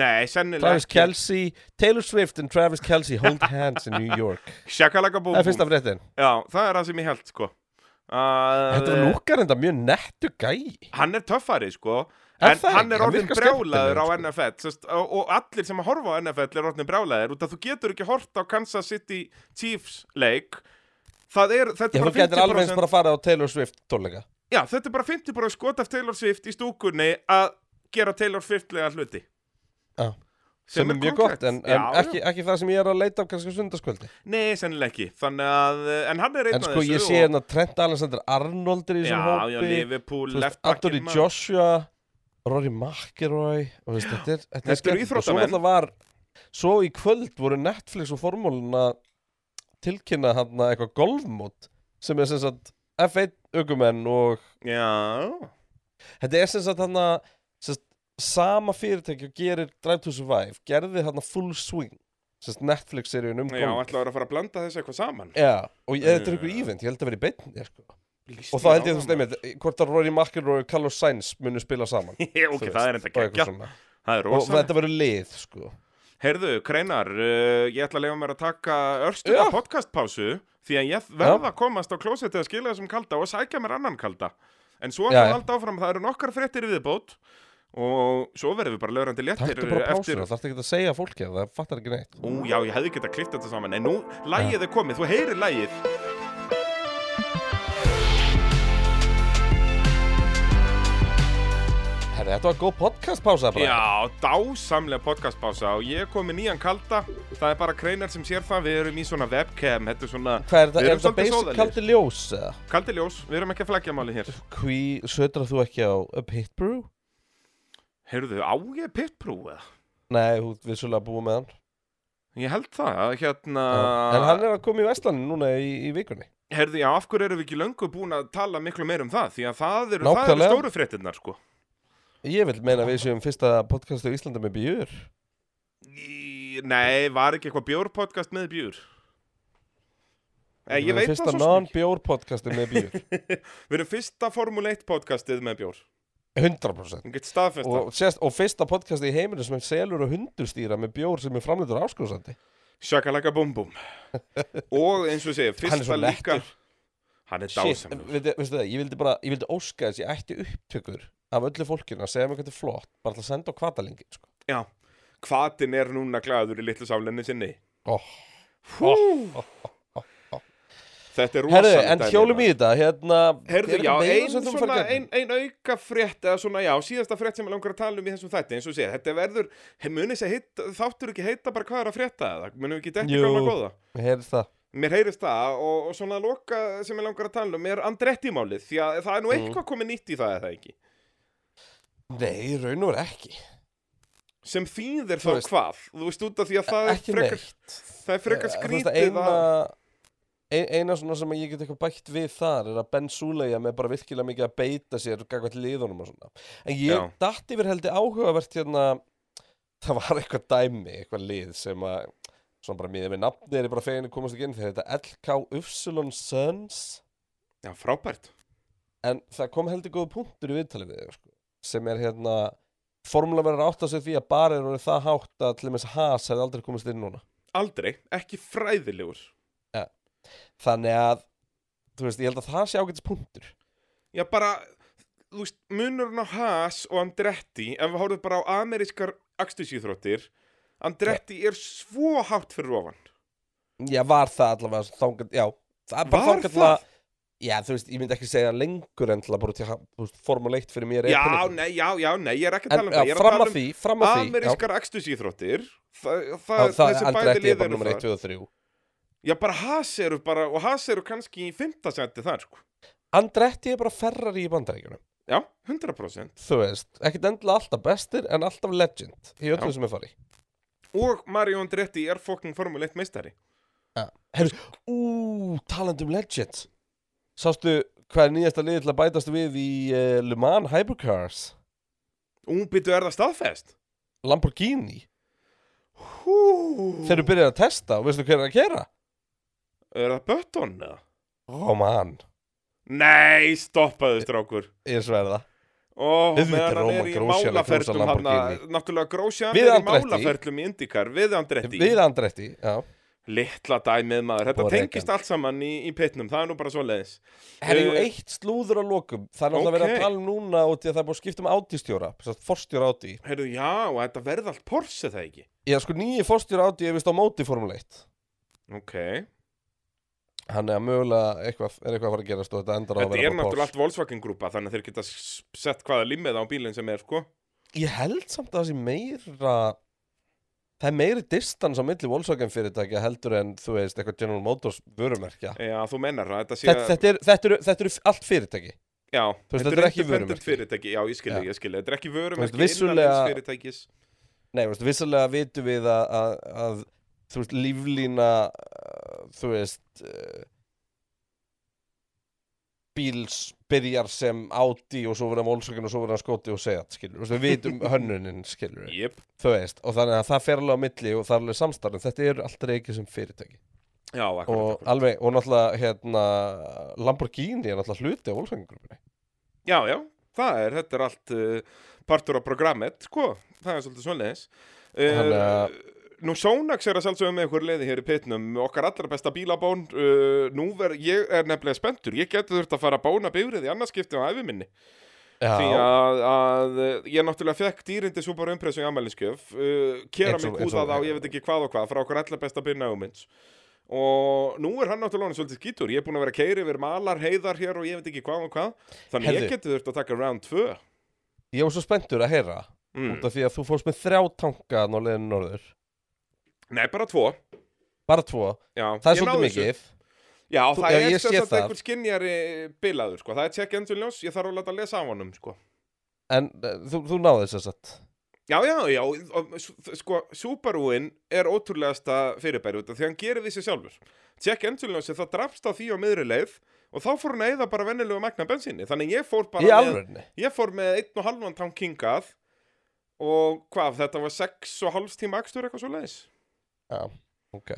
[SPEAKER 2] Nei, sennilega
[SPEAKER 1] Travis
[SPEAKER 2] ekki.
[SPEAKER 1] Kelsey, Taylor Swift and Travis Kelsey hold hands in New York
[SPEAKER 2] Shakalaka búm
[SPEAKER 1] Það er
[SPEAKER 2] búm
[SPEAKER 1] fyrsta fréttin
[SPEAKER 2] Já, það er það sem ég held sko
[SPEAKER 1] Þetta
[SPEAKER 2] Þetta
[SPEAKER 1] er lúkar enda mjög nettu gæi
[SPEAKER 2] Hann er töffari sko
[SPEAKER 1] Er
[SPEAKER 2] En
[SPEAKER 1] það
[SPEAKER 2] hann
[SPEAKER 1] ekki? Hann
[SPEAKER 2] er orðin
[SPEAKER 1] virkar
[SPEAKER 2] brjálaður á
[SPEAKER 1] skemmtilegur, sko.
[SPEAKER 2] NFL sest, og, og allir sem að horfa á NFL er orðin brjálaður út að þú getur ekki hort á Kansas City Chiefs leik Það er, þetta
[SPEAKER 1] Ég
[SPEAKER 2] er
[SPEAKER 1] þú
[SPEAKER 2] bara
[SPEAKER 1] getur alveg
[SPEAKER 2] 50%
[SPEAKER 1] eins bara að fara á Taylor Swift tónleika
[SPEAKER 2] Já, þetta er bara 50% skot af Taylor Swift í stúkunni að gera Taylor Swiftlega hluti
[SPEAKER 1] Já. sem er mjög
[SPEAKER 2] konkrétt.
[SPEAKER 1] gott en,
[SPEAKER 2] Já,
[SPEAKER 1] en
[SPEAKER 2] já.
[SPEAKER 1] ekki, ekki það sem ég er að leita af kannski á sundarskvöldi
[SPEAKER 2] Nei, sennilega ekki Þannig að, en hann er einn
[SPEAKER 1] En sko ég sé hérna Trent Alexander Arnold er í
[SPEAKER 2] Já,
[SPEAKER 1] þessum
[SPEAKER 2] já,
[SPEAKER 1] hópi
[SPEAKER 2] Liverpool,
[SPEAKER 1] þú veist,
[SPEAKER 2] left backinn,
[SPEAKER 1] Anthony
[SPEAKER 2] maður.
[SPEAKER 1] Joshua Rory McIlroy og veist, þetta er, þetta
[SPEAKER 2] Þetta eru
[SPEAKER 1] skemmtilegt. Og svo
[SPEAKER 2] íþróttamenn.
[SPEAKER 1] náttúrulega var svo í kvöld voru Netflix og formúlun að tilkynna hann eitthvað golfmót sem er sem sagt F1 aukumenn og
[SPEAKER 2] Já,
[SPEAKER 1] þetta er sem sagt hann að sama fyrirtæki og gerir Drive to Survive gerði hann full swing sem sagt Netflix seríun um
[SPEAKER 2] Já,
[SPEAKER 1] golf
[SPEAKER 2] ætlaður að fara að blanda þessu eitthvað saman
[SPEAKER 1] Já, og ég, þetta er
[SPEAKER 2] Já.
[SPEAKER 1] ykkur ívent, ég held að vera í beinni sko.
[SPEAKER 2] Líst
[SPEAKER 1] Og þá
[SPEAKER 2] mér
[SPEAKER 1] held ég
[SPEAKER 2] á
[SPEAKER 1] þú
[SPEAKER 2] það,
[SPEAKER 1] stemmi, hvort að Rory McIlroy og Carlos Sainz munu spila saman
[SPEAKER 2] maður. Ok,
[SPEAKER 1] þú
[SPEAKER 2] það
[SPEAKER 1] veist,
[SPEAKER 2] er enda
[SPEAKER 1] og eitthvað
[SPEAKER 2] geggja
[SPEAKER 1] svona.
[SPEAKER 2] Það er
[SPEAKER 1] Og
[SPEAKER 2] rosa
[SPEAKER 1] þetta verður lið, sko
[SPEAKER 2] Herðu, Kreinar, uh, ég ætla að leifa mér að taka örstuða
[SPEAKER 1] Já.
[SPEAKER 2] podcastpásu Því að ég verða að komast á klósettið að skila þessum kalda og sækja mér annan kalda En svo
[SPEAKER 1] Já,
[SPEAKER 2] ætlum við
[SPEAKER 1] já.
[SPEAKER 2] alltaf áfram, það eru nokkar fréttir í viðbót Og svo verðum við bara lögrandi léttir uh,
[SPEAKER 1] Taktu bara
[SPEAKER 2] eftir
[SPEAKER 1] pásur, það þarf ekki að segja fólki að það fattar ekki neitt
[SPEAKER 2] Ú, já, ég hefði getað klift þetta saman En nú, lægið er komið, þú heyrir lægið
[SPEAKER 1] Herra, þetta var góð podcast pása bara
[SPEAKER 2] Já, dásamlega podcastpása og ég kom með nýjan kalda Það er bara kreinar sem sér það, við erum í svona webcam Þetta er svona,
[SPEAKER 1] Hvað er þetta,
[SPEAKER 2] Við
[SPEAKER 1] er
[SPEAKER 2] erum
[SPEAKER 1] þetta
[SPEAKER 2] svolítið
[SPEAKER 1] basic
[SPEAKER 2] sóðalegir.
[SPEAKER 1] kaldi ljós eða?
[SPEAKER 2] kaldi ljós, við erum ekki að flækja máli hér
[SPEAKER 1] Hví sötrar þú ekki á A Pit Brew?
[SPEAKER 2] Heyrðu, á ég pitbrú eða?
[SPEAKER 1] Nei, þú ert vissulega búið með hann
[SPEAKER 2] Ég held það, að hérna...
[SPEAKER 1] En hann er að koma í Vestlanin núna í, í vikunni
[SPEAKER 2] Herði, já, af hverju erum við ekki löngu búin að tala miklu meir um það? Því að það eru, það eru
[SPEAKER 1] Nákvæmlega.
[SPEAKER 2] stóru fréttinnar, sko.
[SPEAKER 1] Ég vil meina að við séum fyrsta podcast á Íslanda með björ
[SPEAKER 2] Í, nei, var ekki eitthvað bjórpodcast með bjúr? Nei, Eh, ég veit það
[SPEAKER 1] Fyrsta
[SPEAKER 2] svo sem ekki.
[SPEAKER 1] non-bjór podcastið með björ
[SPEAKER 2] Við erum fyrsta Formule 1 podcastið með bjór.
[SPEAKER 1] 100%
[SPEAKER 2] Þú getur staðfest það.
[SPEAKER 1] og, sérst, og fyrsta podcastið í heiminu sem selur og hundurstýra með bjór sem er framleitur áskursandi
[SPEAKER 2] Shakalaka bum bum. Og eins og ég segi,
[SPEAKER 1] Hann er svo
[SPEAKER 2] fyrsta líka... Hann er
[SPEAKER 1] Shit,
[SPEAKER 2] dásamur.
[SPEAKER 1] veitu veistu það, ég vildi bara, ég vildi óska þess ég ætti upptökur af öllu fólkinu að segja mér hvað þetta er flott, bara til að senda á kvatalingin sko.
[SPEAKER 2] Já, hvatin er núna glæður í litlu sálinni sinni.
[SPEAKER 1] oh.
[SPEAKER 2] Hú! Þetta er
[SPEAKER 1] Herðu,
[SPEAKER 2] rosalega
[SPEAKER 1] en hjólum í þetta hérna,
[SPEAKER 2] Herðu,
[SPEAKER 1] er
[SPEAKER 2] já,
[SPEAKER 1] eitthvað meira
[SPEAKER 2] ein,
[SPEAKER 1] sem þú
[SPEAKER 2] svona,
[SPEAKER 1] fara í
[SPEAKER 2] ein,
[SPEAKER 1] gegnum?
[SPEAKER 2] ein auka frétt eða svona, já, síðasta frétt sem ég langar að tala um í þessum þætti, eins og sé, þetta verður he- muni þessi heit, þáttur ekki heita bara hvað er að frétta eða, munum við ekki dekka
[SPEAKER 1] Jú.
[SPEAKER 2] gamla góða
[SPEAKER 1] Heyrðu það
[SPEAKER 2] Mér heyrist það og, og svona loka sem ég langar að tala um er Andretti-málið, því að það er nú
[SPEAKER 1] Mm.
[SPEAKER 2] eitthvað komið nýtt í það eða ekki,
[SPEAKER 1] Nei, í raun og er ekki
[SPEAKER 2] sem þýðir þá
[SPEAKER 1] Þú veist.
[SPEAKER 2] hvað, þú veist út af því að það er
[SPEAKER 1] Ekki
[SPEAKER 2] frekar,
[SPEAKER 1] neitt Eh,
[SPEAKER 2] það er frekar
[SPEAKER 1] Þú veist,
[SPEAKER 2] skrítið
[SPEAKER 1] eina,
[SPEAKER 2] að,
[SPEAKER 1] ein- eina svona sem ég get eitthvað bætt við þar er að Ben Suleja með bara virkilega mikið að beita sér gagvægt liðunum og svona en ég
[SPEAKER 2] Já.
[SPEAKER 1] datt yfir heldur áhugavert hérna það var eitthvað dæmi, eitthvað lið sem að svona bara miðið með nafni er ég bara fegin að komast ekki inn þegar þetta LK Ufsulon Sons
[SPEAKER 2] já, frábært,
[SPEAKER 1] en það kom heldur góð punktur í viðtalið við þau, sko, sem er hérna formúla verður að átta sig á því að bara eru það hátt að til dæmis Haas hefði aldrei komist inn núna
[SPEAKER 2] aldrei, ekki fræðilegur,
[SPEAKER 1] þannig að þú veist, ég held að það sé ágætis punktur
[SPEAKER 2] Já, bara, þú veist, munurinn á Haas og Andretti, ef við horfum bara á amerískar axtusíþróttir, Andretti er svo hátt fyrir ofan.
[SPEAKER 1] já, var það allavega þangað, já, það er bara
[SPEAKER 2] Var
[SPEAKER 1] þangað
[SPEAKER 2] það?
[SPEAKER 1] til að já, þú veist, ég myndi ekki segja lengur en til að bara til að, þú veist, formuleitt fyrir mér er
[SPEAKER 2] Já,
[SPEAKER 1] peningurinn.
[SPEAKER 2] nei, já, já, nei, ég er ekki að
[SPEAKER 1] en
[SPEAKER 2] tala um
[SPEAKER 1] já,
[SPEAKER 2] það, ég er að
[SPEAKER 1] fram
[SPEAKER 2] tala
[SPEAKER 1] að
[SPEAKER 2] um
[SPEAKER 1] því, fram að því já,
[SPEAKER 2] amerískar axtusíþróttir, það,
[SPEAKER 1] já,
[SPEAKER 2] það,
[SPEAKER 1] það er
[SPEAKER 2] þessi
[SPEAKER 1] aldrei ekki bara
[SPEAKER 2] bæði
[SPEAKER 1] sko.
[SPEAKER 2] liðinu
[SPEAKER 1] nummer 1,
[SPEAKER 2] það.
[SPEAKER 1] 2 og 3
[SPEAKER 2] Já, bara Haas eru bara, og Haas eru kannski í fymtasendi þar, sko.
[SPEAKER 1] Andretti er bara ferrar í bandaríkjunum
[SPEAKER 2] Já, 100%.
[SPEAKER 1] þú veist, ekkit endilega alltaf bestir en alltaf legend í
[SPEAKER 2] Já.
[SPEAKER 1] öllu sem er fari
[SPEAKER 2] Og Mario Andretti er fokking Formule 1 meistari.
[SPEAKER 1] Hefðu, ú, talandi um legend sástu hvað er nýjasta liðið til að bætast við í uh, Le Mans Hypercars
[SPEAKER 2] Úmbýtu er það staðfest.
[SPEAKER 1] Lamborghini
[SPEAKER 2] Hú.
[SPEAKER 1] þegar þú byrjar að testa og veistu hver er að gera Oh,
[SPEAKER 2] Er það Button, eða?
[SPEAKER 1] Roman,
[SPEAKER 2] Nei, stoppaðu, strákur.
[SPEAKER 1] ég sverða
[SPEAKER 2] Ó,
[SPEAKER 1] Auðvitað
[SPEAKER 2] meðan hann
[SPEAKER 1] Roman
[SPEAKER 2] er í
[SPEAKER 1] Grosjean að
[SPEAKER 2] málaferlum
[SPEAKER 1] knúsa
[SPEAKER 2] hann
[SPEAKER 1] Lamborghini.
[SPEAKER 2] náttúrulega Grósjan
[SPEAKER 1] Við
[SPEAKER 2] er í
[SPEAKER 1] Andretti.
[SPEAKER 2] málaferlum í Indikar við Andretti,
[SPEAKER 1] við andrætti, já
[SPEAKER 2] litla dæmið maður þetta
[SPEAKER 1] Og
[SPEAKER 2] tengist allt saman í, í pitnum, það er nú bara svo leiðis
[SPEAKER 1] Herri, jú,
[SPEAKER 2] Eh,
[SPEAKER 1] eitt slúður að lokum Það er náttúrulega verið
[SPEAKER 2] ókei.
[SPEAKER 1] að tala um núna og því að það er búið að skipta um átistjóra Forstjóra áti
[SPEAKER 2] heyrðu, já, og þetta verði allt Porsche það ekki
[SPEAKER 1] Ég sko nýju forstjóra áti er vist á móti formuleitt
[SPEAKER 2] ok,
[SPEAKER 1] Hann er að mögulega eitthvað, er eitthvað að fara að gerast og þetta endar á að
[SPEAKER 2] þetta
[SPEAKER 1] vera
[SPEAKER 2] er
[SPEAKER 1] bara
[SPEAKER 2] náttúrulega allt Volkswagen grúpa þannig að þeir geta s- sett hvaða limmið á bílinn sem er sko,
[SPEAKER 1] Porsche. Ég held samt að það sé meira Það er meiri distans á milli Volkswagen fyrirtækja heldur en þú veist eitthvað General Motors vörumerkja
[SPEAKER 2] já, þú mennar það þetta sé
[SPEAKER 1] Þetta, þetta, er, þetta, eru, þetta eru allt fyrirtæki
[SPEAKER 2] já,
[SPEAKER 1] veist,
[SPEAKER 2] þetta
[SPEAKER 1] þetta
[SPEAKER 2] er
[SPEAKER 1] er ekki
[SPEAKER 2] independent
[SPEAKER 1] vörumerki.
[SPEAKER 2] fyrirtæki já, ég skilja,
[SPEAKER 1] Já.
[SPEAKER 2] ég skilja, þetta er ekki
[SPEAKER 1] Þú veist,
[SPEAKER 2] vörumerki
[SPEAKER 1] vissulega-
[SPEAKER 2] innan eins fyrirtækis
[SPEAKER 1] Nei, þú veist, vissalega vitum við að, að, að þú veist, líflína uh, þú veist uh, bíls byrjar sem áti og svo verður hann volsökun og svo verður hann skoti og segja skilur, við, við vitum hönnunin skilur við,
[SPEAKER 2] yep.
[SPEAKER 1] þú veist, og þannig að það fer alveg á milli og það er alveg samstarf, en þetta er alltaf ekki sem fyrirtæki
[SPEAKER 2] já, akkurat,
[SPEAKER 1] og
[SPEAKER 2] akkurat.
[SPEAKER 1] alveg, og náttúrulega hérna, Lamborghini er náttúrulega hluti á volsökungrupinni
[SPEAKER 2] Já, já, það er, þetta er allt uh, partur á programmet, sko, það er svolítið svoleiðis.
[SPEAKER 1] Þannig
[SPEAKER 2] Uh,
[SPEAKER 1] að-
[SPEAKER 2] nú Sónax er að sjálfsögum með ykkur leiði hér í pitnum, okkar allra besta bílabón, uh, nú verð, ég er nefnilega spenntur, ég getur þurft að fara að bóna bifrið í annarskipti á æfi minni. Því að, að eh, ég náttúrulega fekk dýrindi svo bara umpressu í ammælinskjöf, uh, kera
[SPEAKER 1] Eins
[SPEAKER 2] mig
[SPEAKER 1] og- eins
[SPEAKER 2] úða
[SPEAKER 1] og-
[SPEAKER 2] þá, ég veit ekki hvað og hvað, frá okkar allra besta byrna hugmynds. Og nú er hann náttúrulega orðinn svolítið skítur, ég er búin að vera að keiri yfir malar, heiðar hér og ég veit ekki hvað og hvað, þannig
[SPEAKER 1] Heyrðu.
[SPEAKER 2] ég getur þurft að taka round 2.
[SPEAKER 1] ég var svo spenntur að heyra
[SPEAKER 2] Mm.
[SPEAKER 1] út af því að þú fórst með þrjá tanka nálegin norður,
[SPEAKER 2] Nei, bara tvo
[SPEAKER 1] bara tvo
[SPEAKER 2] Já,
[SPEAKER 1] það er
[SPEAKER 2] ég
[SPEAKER 1] svolítið
[SPEAKER 2] náði þessu.
[SPEAKER 1] mikið
[SPEAKER 2] Já,
[SPEAKER 1] Þú-
[SPEAKER 2] það
[SPEAKER 1] já,
[SPEAKER 2] er
[SPEAKER 1] ég
[SPEAKER 2] sem
[SPEAKER 1] sé
[SPEAKER 2] sagt
[SPEAKER 1] það.
[SPEAKER 2] einhvern skinnjari bilaður
[SPEAKER 1] eh,
[SPEAKER 2] sko. Það er check engine ljós, ég þarf að leta að lesa af honum sko.
[SPEAKER 1] En uh, þú, þú náði þess að satt
[SPEAKER 2] Já, já, já, og, s- sko, Subaruinn er ótrúlegasta fyrirbæri út af því hann gerir því sér sjálfur. Tjekk endurljósi, það drafst á því á miðri leið og þá fór hann að eyða bara venjulegu magna bensinni. Þannig ég fór bara
[SPEAKER 1] Í
[SPEAKER 2] með,
[SPEAKER 1] alvörni
[SPEAKER 2] ég fór með einn og halvan tank hingað og hvað, þetta var sex og hálfs tíma akstur eitthvað svo leiðis.
[SPEAKER 1] Já, ok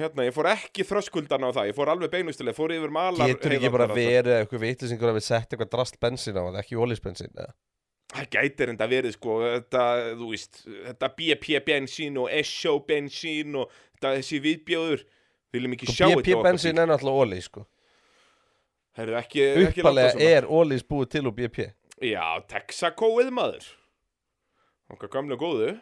[SPEAKER 2] Hérna, ég fór ekki þröskuldana á það, ég fór alveg beinustileg, fór yfir malar
[SPEAKER 1] Getur ekki bara
[SPEAKER 2] heiðarnar og það.
[SPEAKER 1] verið að eitthvað vitlisingur að við sett eitthvað drast bensín á það, ekki ólísbensín eða?
[SPEAKER 2] Það gætir enda verið sko, þetta, þú veist, þetta BP bensín og SO bensín og þetta þessi viðbjóður, viljum ekki sjá
[SPEAKER 1] Sko, BP
[SPEAKER 2] þetta á
[SPEAKER 1] bensín
[SPEAKER 2] okkur.
[SPEAKER 1] er náttúrulega ólís sko
[SPEAKER 2] Herru, ekki, ekki láta
[SPEAKER 1] Uppalega
[SPEAKER 2] svona.
[SPEAKER 1] er ólís búið til úr BP
[SPEAKER 2] Já, Texacoið maður. Okkar gamla góðu.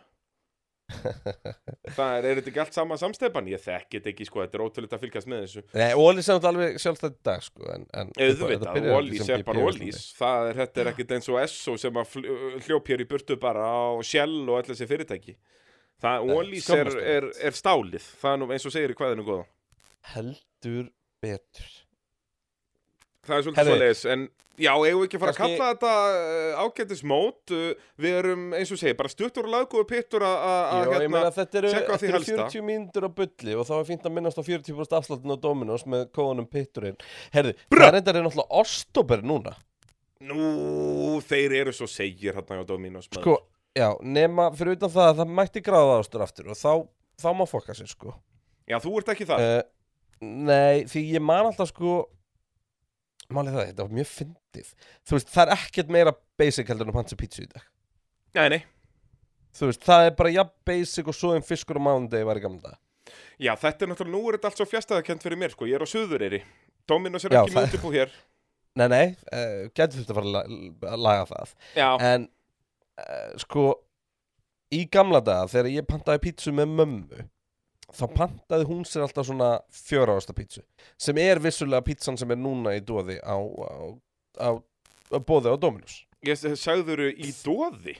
[SPEAKER 2] Það er, er þetta ekki allt sama samstefan? Ég þekki þetta ekki sko, þetta er ótrúlega að fylgjast með þessu.
[SPEAKER 1] Nei, ólís er náttúrulega alveg sjálfstætt í dag sko en, en, þetta
[SPEAKER 2] Auðvitað,
[SPEAKER 1] byrjaði
[SPEAKER 2] Wallys
[SPEAKER 1] sem
[SPEAKER 2] er bara
[SPEAKER 1] BP á
[SPEAKER 2] Wallys. Það er, þetta er ekkit eins og SO sem að fl- hljóp hér í burtu bara á Shell og allir þessi fyrirtæki. Það,
[SPEAKER 1] Nei,
[SPEAKER 2] Wallys er,
[SPEAKER 1] skammast
[SPEAKER 2] er, er stálið. Það er nú eins og segir í hvaðinu góða.
[SPEAKER 1] Íslandi. Heldur betur
[SPEAKER 2] Það er svolítið
[SPEAKER 1] Herri.
[SPEAKER 2] svoleiðis, en já, eigum við ekki að fara
[SPEAKER 1] Kannski-
[SPEAKER 2] að kalla þetta uh, ágætis mót, uh, við erum, eins og segir, bara stuttur og laggóðu pittur að, að- hérna-
[SPEAKER 1] Jó,
[SPEAKER 2] að,
[SPEAKER 1] ég meina að þetta eru,
[SPEAKER 2] checka á því
[SPEAKER 1] þetta eru
[SPEAKER 2] helsta.
[SPEAKER 1] 40 mínútur á bulli og þá er fínt að minnast á 40% afsláttun á Dominos með kóðunum pitturinn Herðu,
[SPEAKER 2] Brr!
[SPEAKER 1] það er enda náttúrulega ostober núna
[SPEAKER 2] nú, þeir eru svo segir hérna á Dominos. maður.
[SPEAKER 1] Sko, já, nema fyrir utan það að það mætti gráða ástur aftur og þá, þá má fokka sér sko
[SPEAKER 2] Já, þú ert ekki það.
[SPEAKER 1] uh, Nei, því ég man alltaf sko Málið það, þetta var mjög fyndið Þú veist, það er ekkert meira basic heldur en að panta sér pítsu í dag
[SPEAKER 2] Nei, nei.
[SPEAKER 1] Þú veist, það er bara jafn basic og svo en fiskur á mánudegi var í gamla daga.
[SPEAKER 2] Já, þetta er náttúrulega, nú er þetta allt svo fjastæðakent fyrir mér, sko, ég er á Suðureyri. Dominos er
[SPEAKER 1] Já,
[SPEAKER 2] ekki
[SPEAKER 1] það-
[SPEAKER 2] mjög tilbúið hér.
[SPEAKER 1] Nei, nei, uh, getur þetta að fara að la- að laga það
[SPEAKER 2] Já,
[SPEAKER 1] En, uh, sko, í gamla daga þegar ég pantaði pítsu með mömmu Þá
[SPEAKER 2] Mm.
[SPEAKER 1] pantaði hún sér alltaf svona fjöra ásta pítsu Sem er vissulega pítsan sem er núna í dóði á, á, á, á bóði á Dominus
[SPEAKER 2] ég sagður í dóði.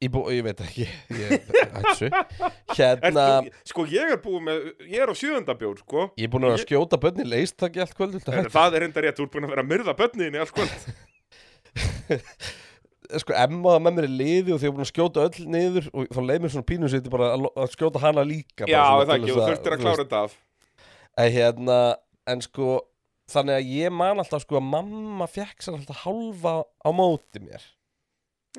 [SPEAKER 1] Í bó, ég veit ekki, ég hættu Hérna,
[SPEAKER 2] Ertu, sko, ég er búið með, ég er á sjöðundabjór, sko.
[SPEAKER 1] ég er búin að vera að skjóta bönni leist það ekki allt kvöld viltu
[SPEAKER 2] En
[SPEAKER 1] hætta?
[SPEAKER 2] það er enda rétt, þú ert búin að vera að myrða börnin í allt kvöld.
[SPEAKER 1] Sko, Emma var með mér í liði og því ég er búin að skjóta öll niður og þá leið mér svona pínu sétti bara að, lo- að skjóta hana líka bara
[SPEAKER 2] Já,
[SPEAKER 1] svona
[SPEAKER 2] það
[SPEAKER 1] til
[SPEAKER 2] ekki,
[SPEAKER 1] þess
[SPEAKER 2] þú þurftir að
[SPEAKER 1] þú veist,
[SPEAKER 2] klára þetta af.
[SPEAKER 1] En hérna, en sko, þannig að ég man alltaf sko að mamma fekk sér alltaf hálfa á móti mér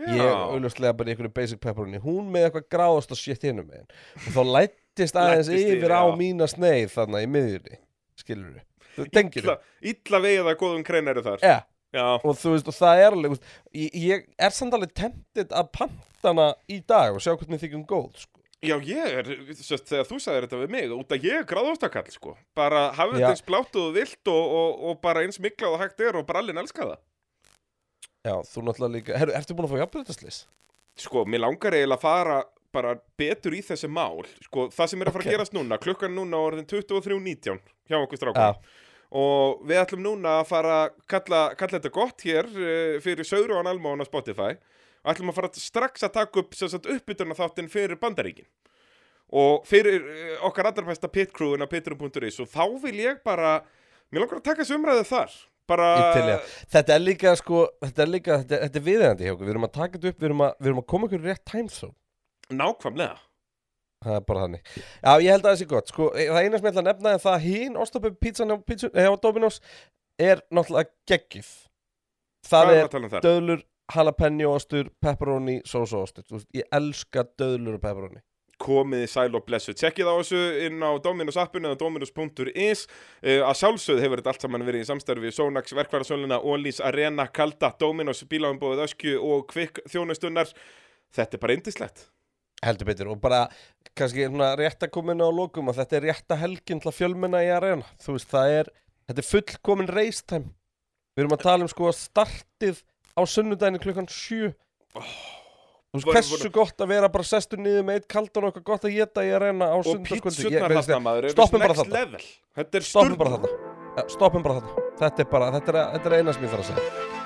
[SPEAKER 1] Ég auðvitað bara í einhverju basic pepperoni Hún með eitthvað gráðast og shit hinum með Og þá lættist aðeins
[SPEAKER 2] Læddist yfir,
[SPEAKER 1] yfir á
[SPEAKER 2] já.
[SPEAKER 1] mína sneið þarna í miðjunni Skilur við Þú tengir
[SPEAKER 2] Illa, illa vegið að góðum kreinari þar
[SPEAKER 1] Já,
[SPEAKER 2] Já,
[SPEAKER 1] og þú veist, og það er alveg þú veist, ég, ég er samt alveg temptið að pantana í dag og sjá hvernig mér þykir um góð sko.
[SPEAKER 2] já ég er, sérst, þegar þú sagðir þetta við mig út að ég er gráðóstakall sko bara hafið
[SPEAKER 1] Já.
[SPEAKER 2] þetta eins blátt og þú vilt og, og, og bara eins miklað og hægt er og brallin elska það
[SPEAKER 1] Já, þú náttúrulega líka Herru, ertu búin að fá jafnbreytaslis?
[SPEAKER 2] Sko, mér langar eiginlega að fara bara betur í þessi mál sko, það sem er að fara
[SPEAKER 1] Ok.
[SPEAKER 2] að gerast núna, klukkan núna er orðin 23.19 hjá okkur
[SPEAKER 1] Já,
[SPEAKER 2] strákum og við ætlum núna að fara að kalla, kalla þetta gott hér eh, fyrir Sauron Almón á Spotify og ætlum að fara strax að taka upp sem sagt, uppbytuna þáttinn fyrir bandaríkin og fyrir eh, okkar allra besta pitcrewin á pitrum.is og þá vil ég bara mér langar að taka þessu umræðu þar bara
[SPEAKER 1] ég til ég Þetta er líka, sko, þetta er líka Þetta, þetta er viðeigandi hjá okkur, við erum að taka þetta upp Við erum að, við erum að koma okkur í rétt timezone
[SPEAKER 2] nákvæmlega
[SPEAKER 1] Það er bara þannig Já, ég held að það sé gott, sko, það eina sem ég ætla að nefna er það að hín, óstopið pítsan hjá, pítsu- hjá Dominos er náttúrulega geggið Það
[SPEAKER 2] Hvað
[SPEAKER 1] er
[SPEAKER 2] að tala um þar?
[SPEAKER 1] döðlur, jalapeno ostur, pepperoni, sósa ostur Þú veist, Ég elska döðlur og pepperoni
[SPEAKER 2] komið í sæl og blessu. Tjekkið á þessu inn á Dominus appinu eða dominus.is uh, að sjálfsögð hefur þetta allt saman verið í samstarfi við Sónax, Verkvarðarsöluna, Ólís, Arena, Kalda, Dominus, Bíláumbóðið, Öskju og Kvikk þjónustunnar. Þetta er bara indislegt.
[SPEAKER 1] Heldur betur og bara kannski svona rétt að koma inn á lokum að þetta er rétta helgin til að fjölmenna í arena Þú veist það er, þetta er fullkomin race time Við erum að tala um sko startið á sunnudaginu klukkan 7 Þú veist
[SPEAKER 2] Voru-
[SPEAKER 1] hversu
[SPEAKER 2] voru-
[SPEAKER 1] gott að vera bara sestur niður með eitt kaldan og eitthvað gott að geta í arena á
[SPEAKER 2] Og
[SPEAKER 1] sunnudagskvöldi
[SPEAKER 2] pítsunar þarna maður, eru
[SPEAKER 1] stoppum bara
[SPEAKER 2] next
[SPEAKER 1] þarna.
[SPEAKER 2] level. Þetta er
[SPEAKER 1] Stoppum bara
[SPEAKER 2] sturlað.
[SPEAKER 1] þarna Ja, Stoppum bara þarna Þetta er bara, þetta er, þetta er eina sem ég þarf að segja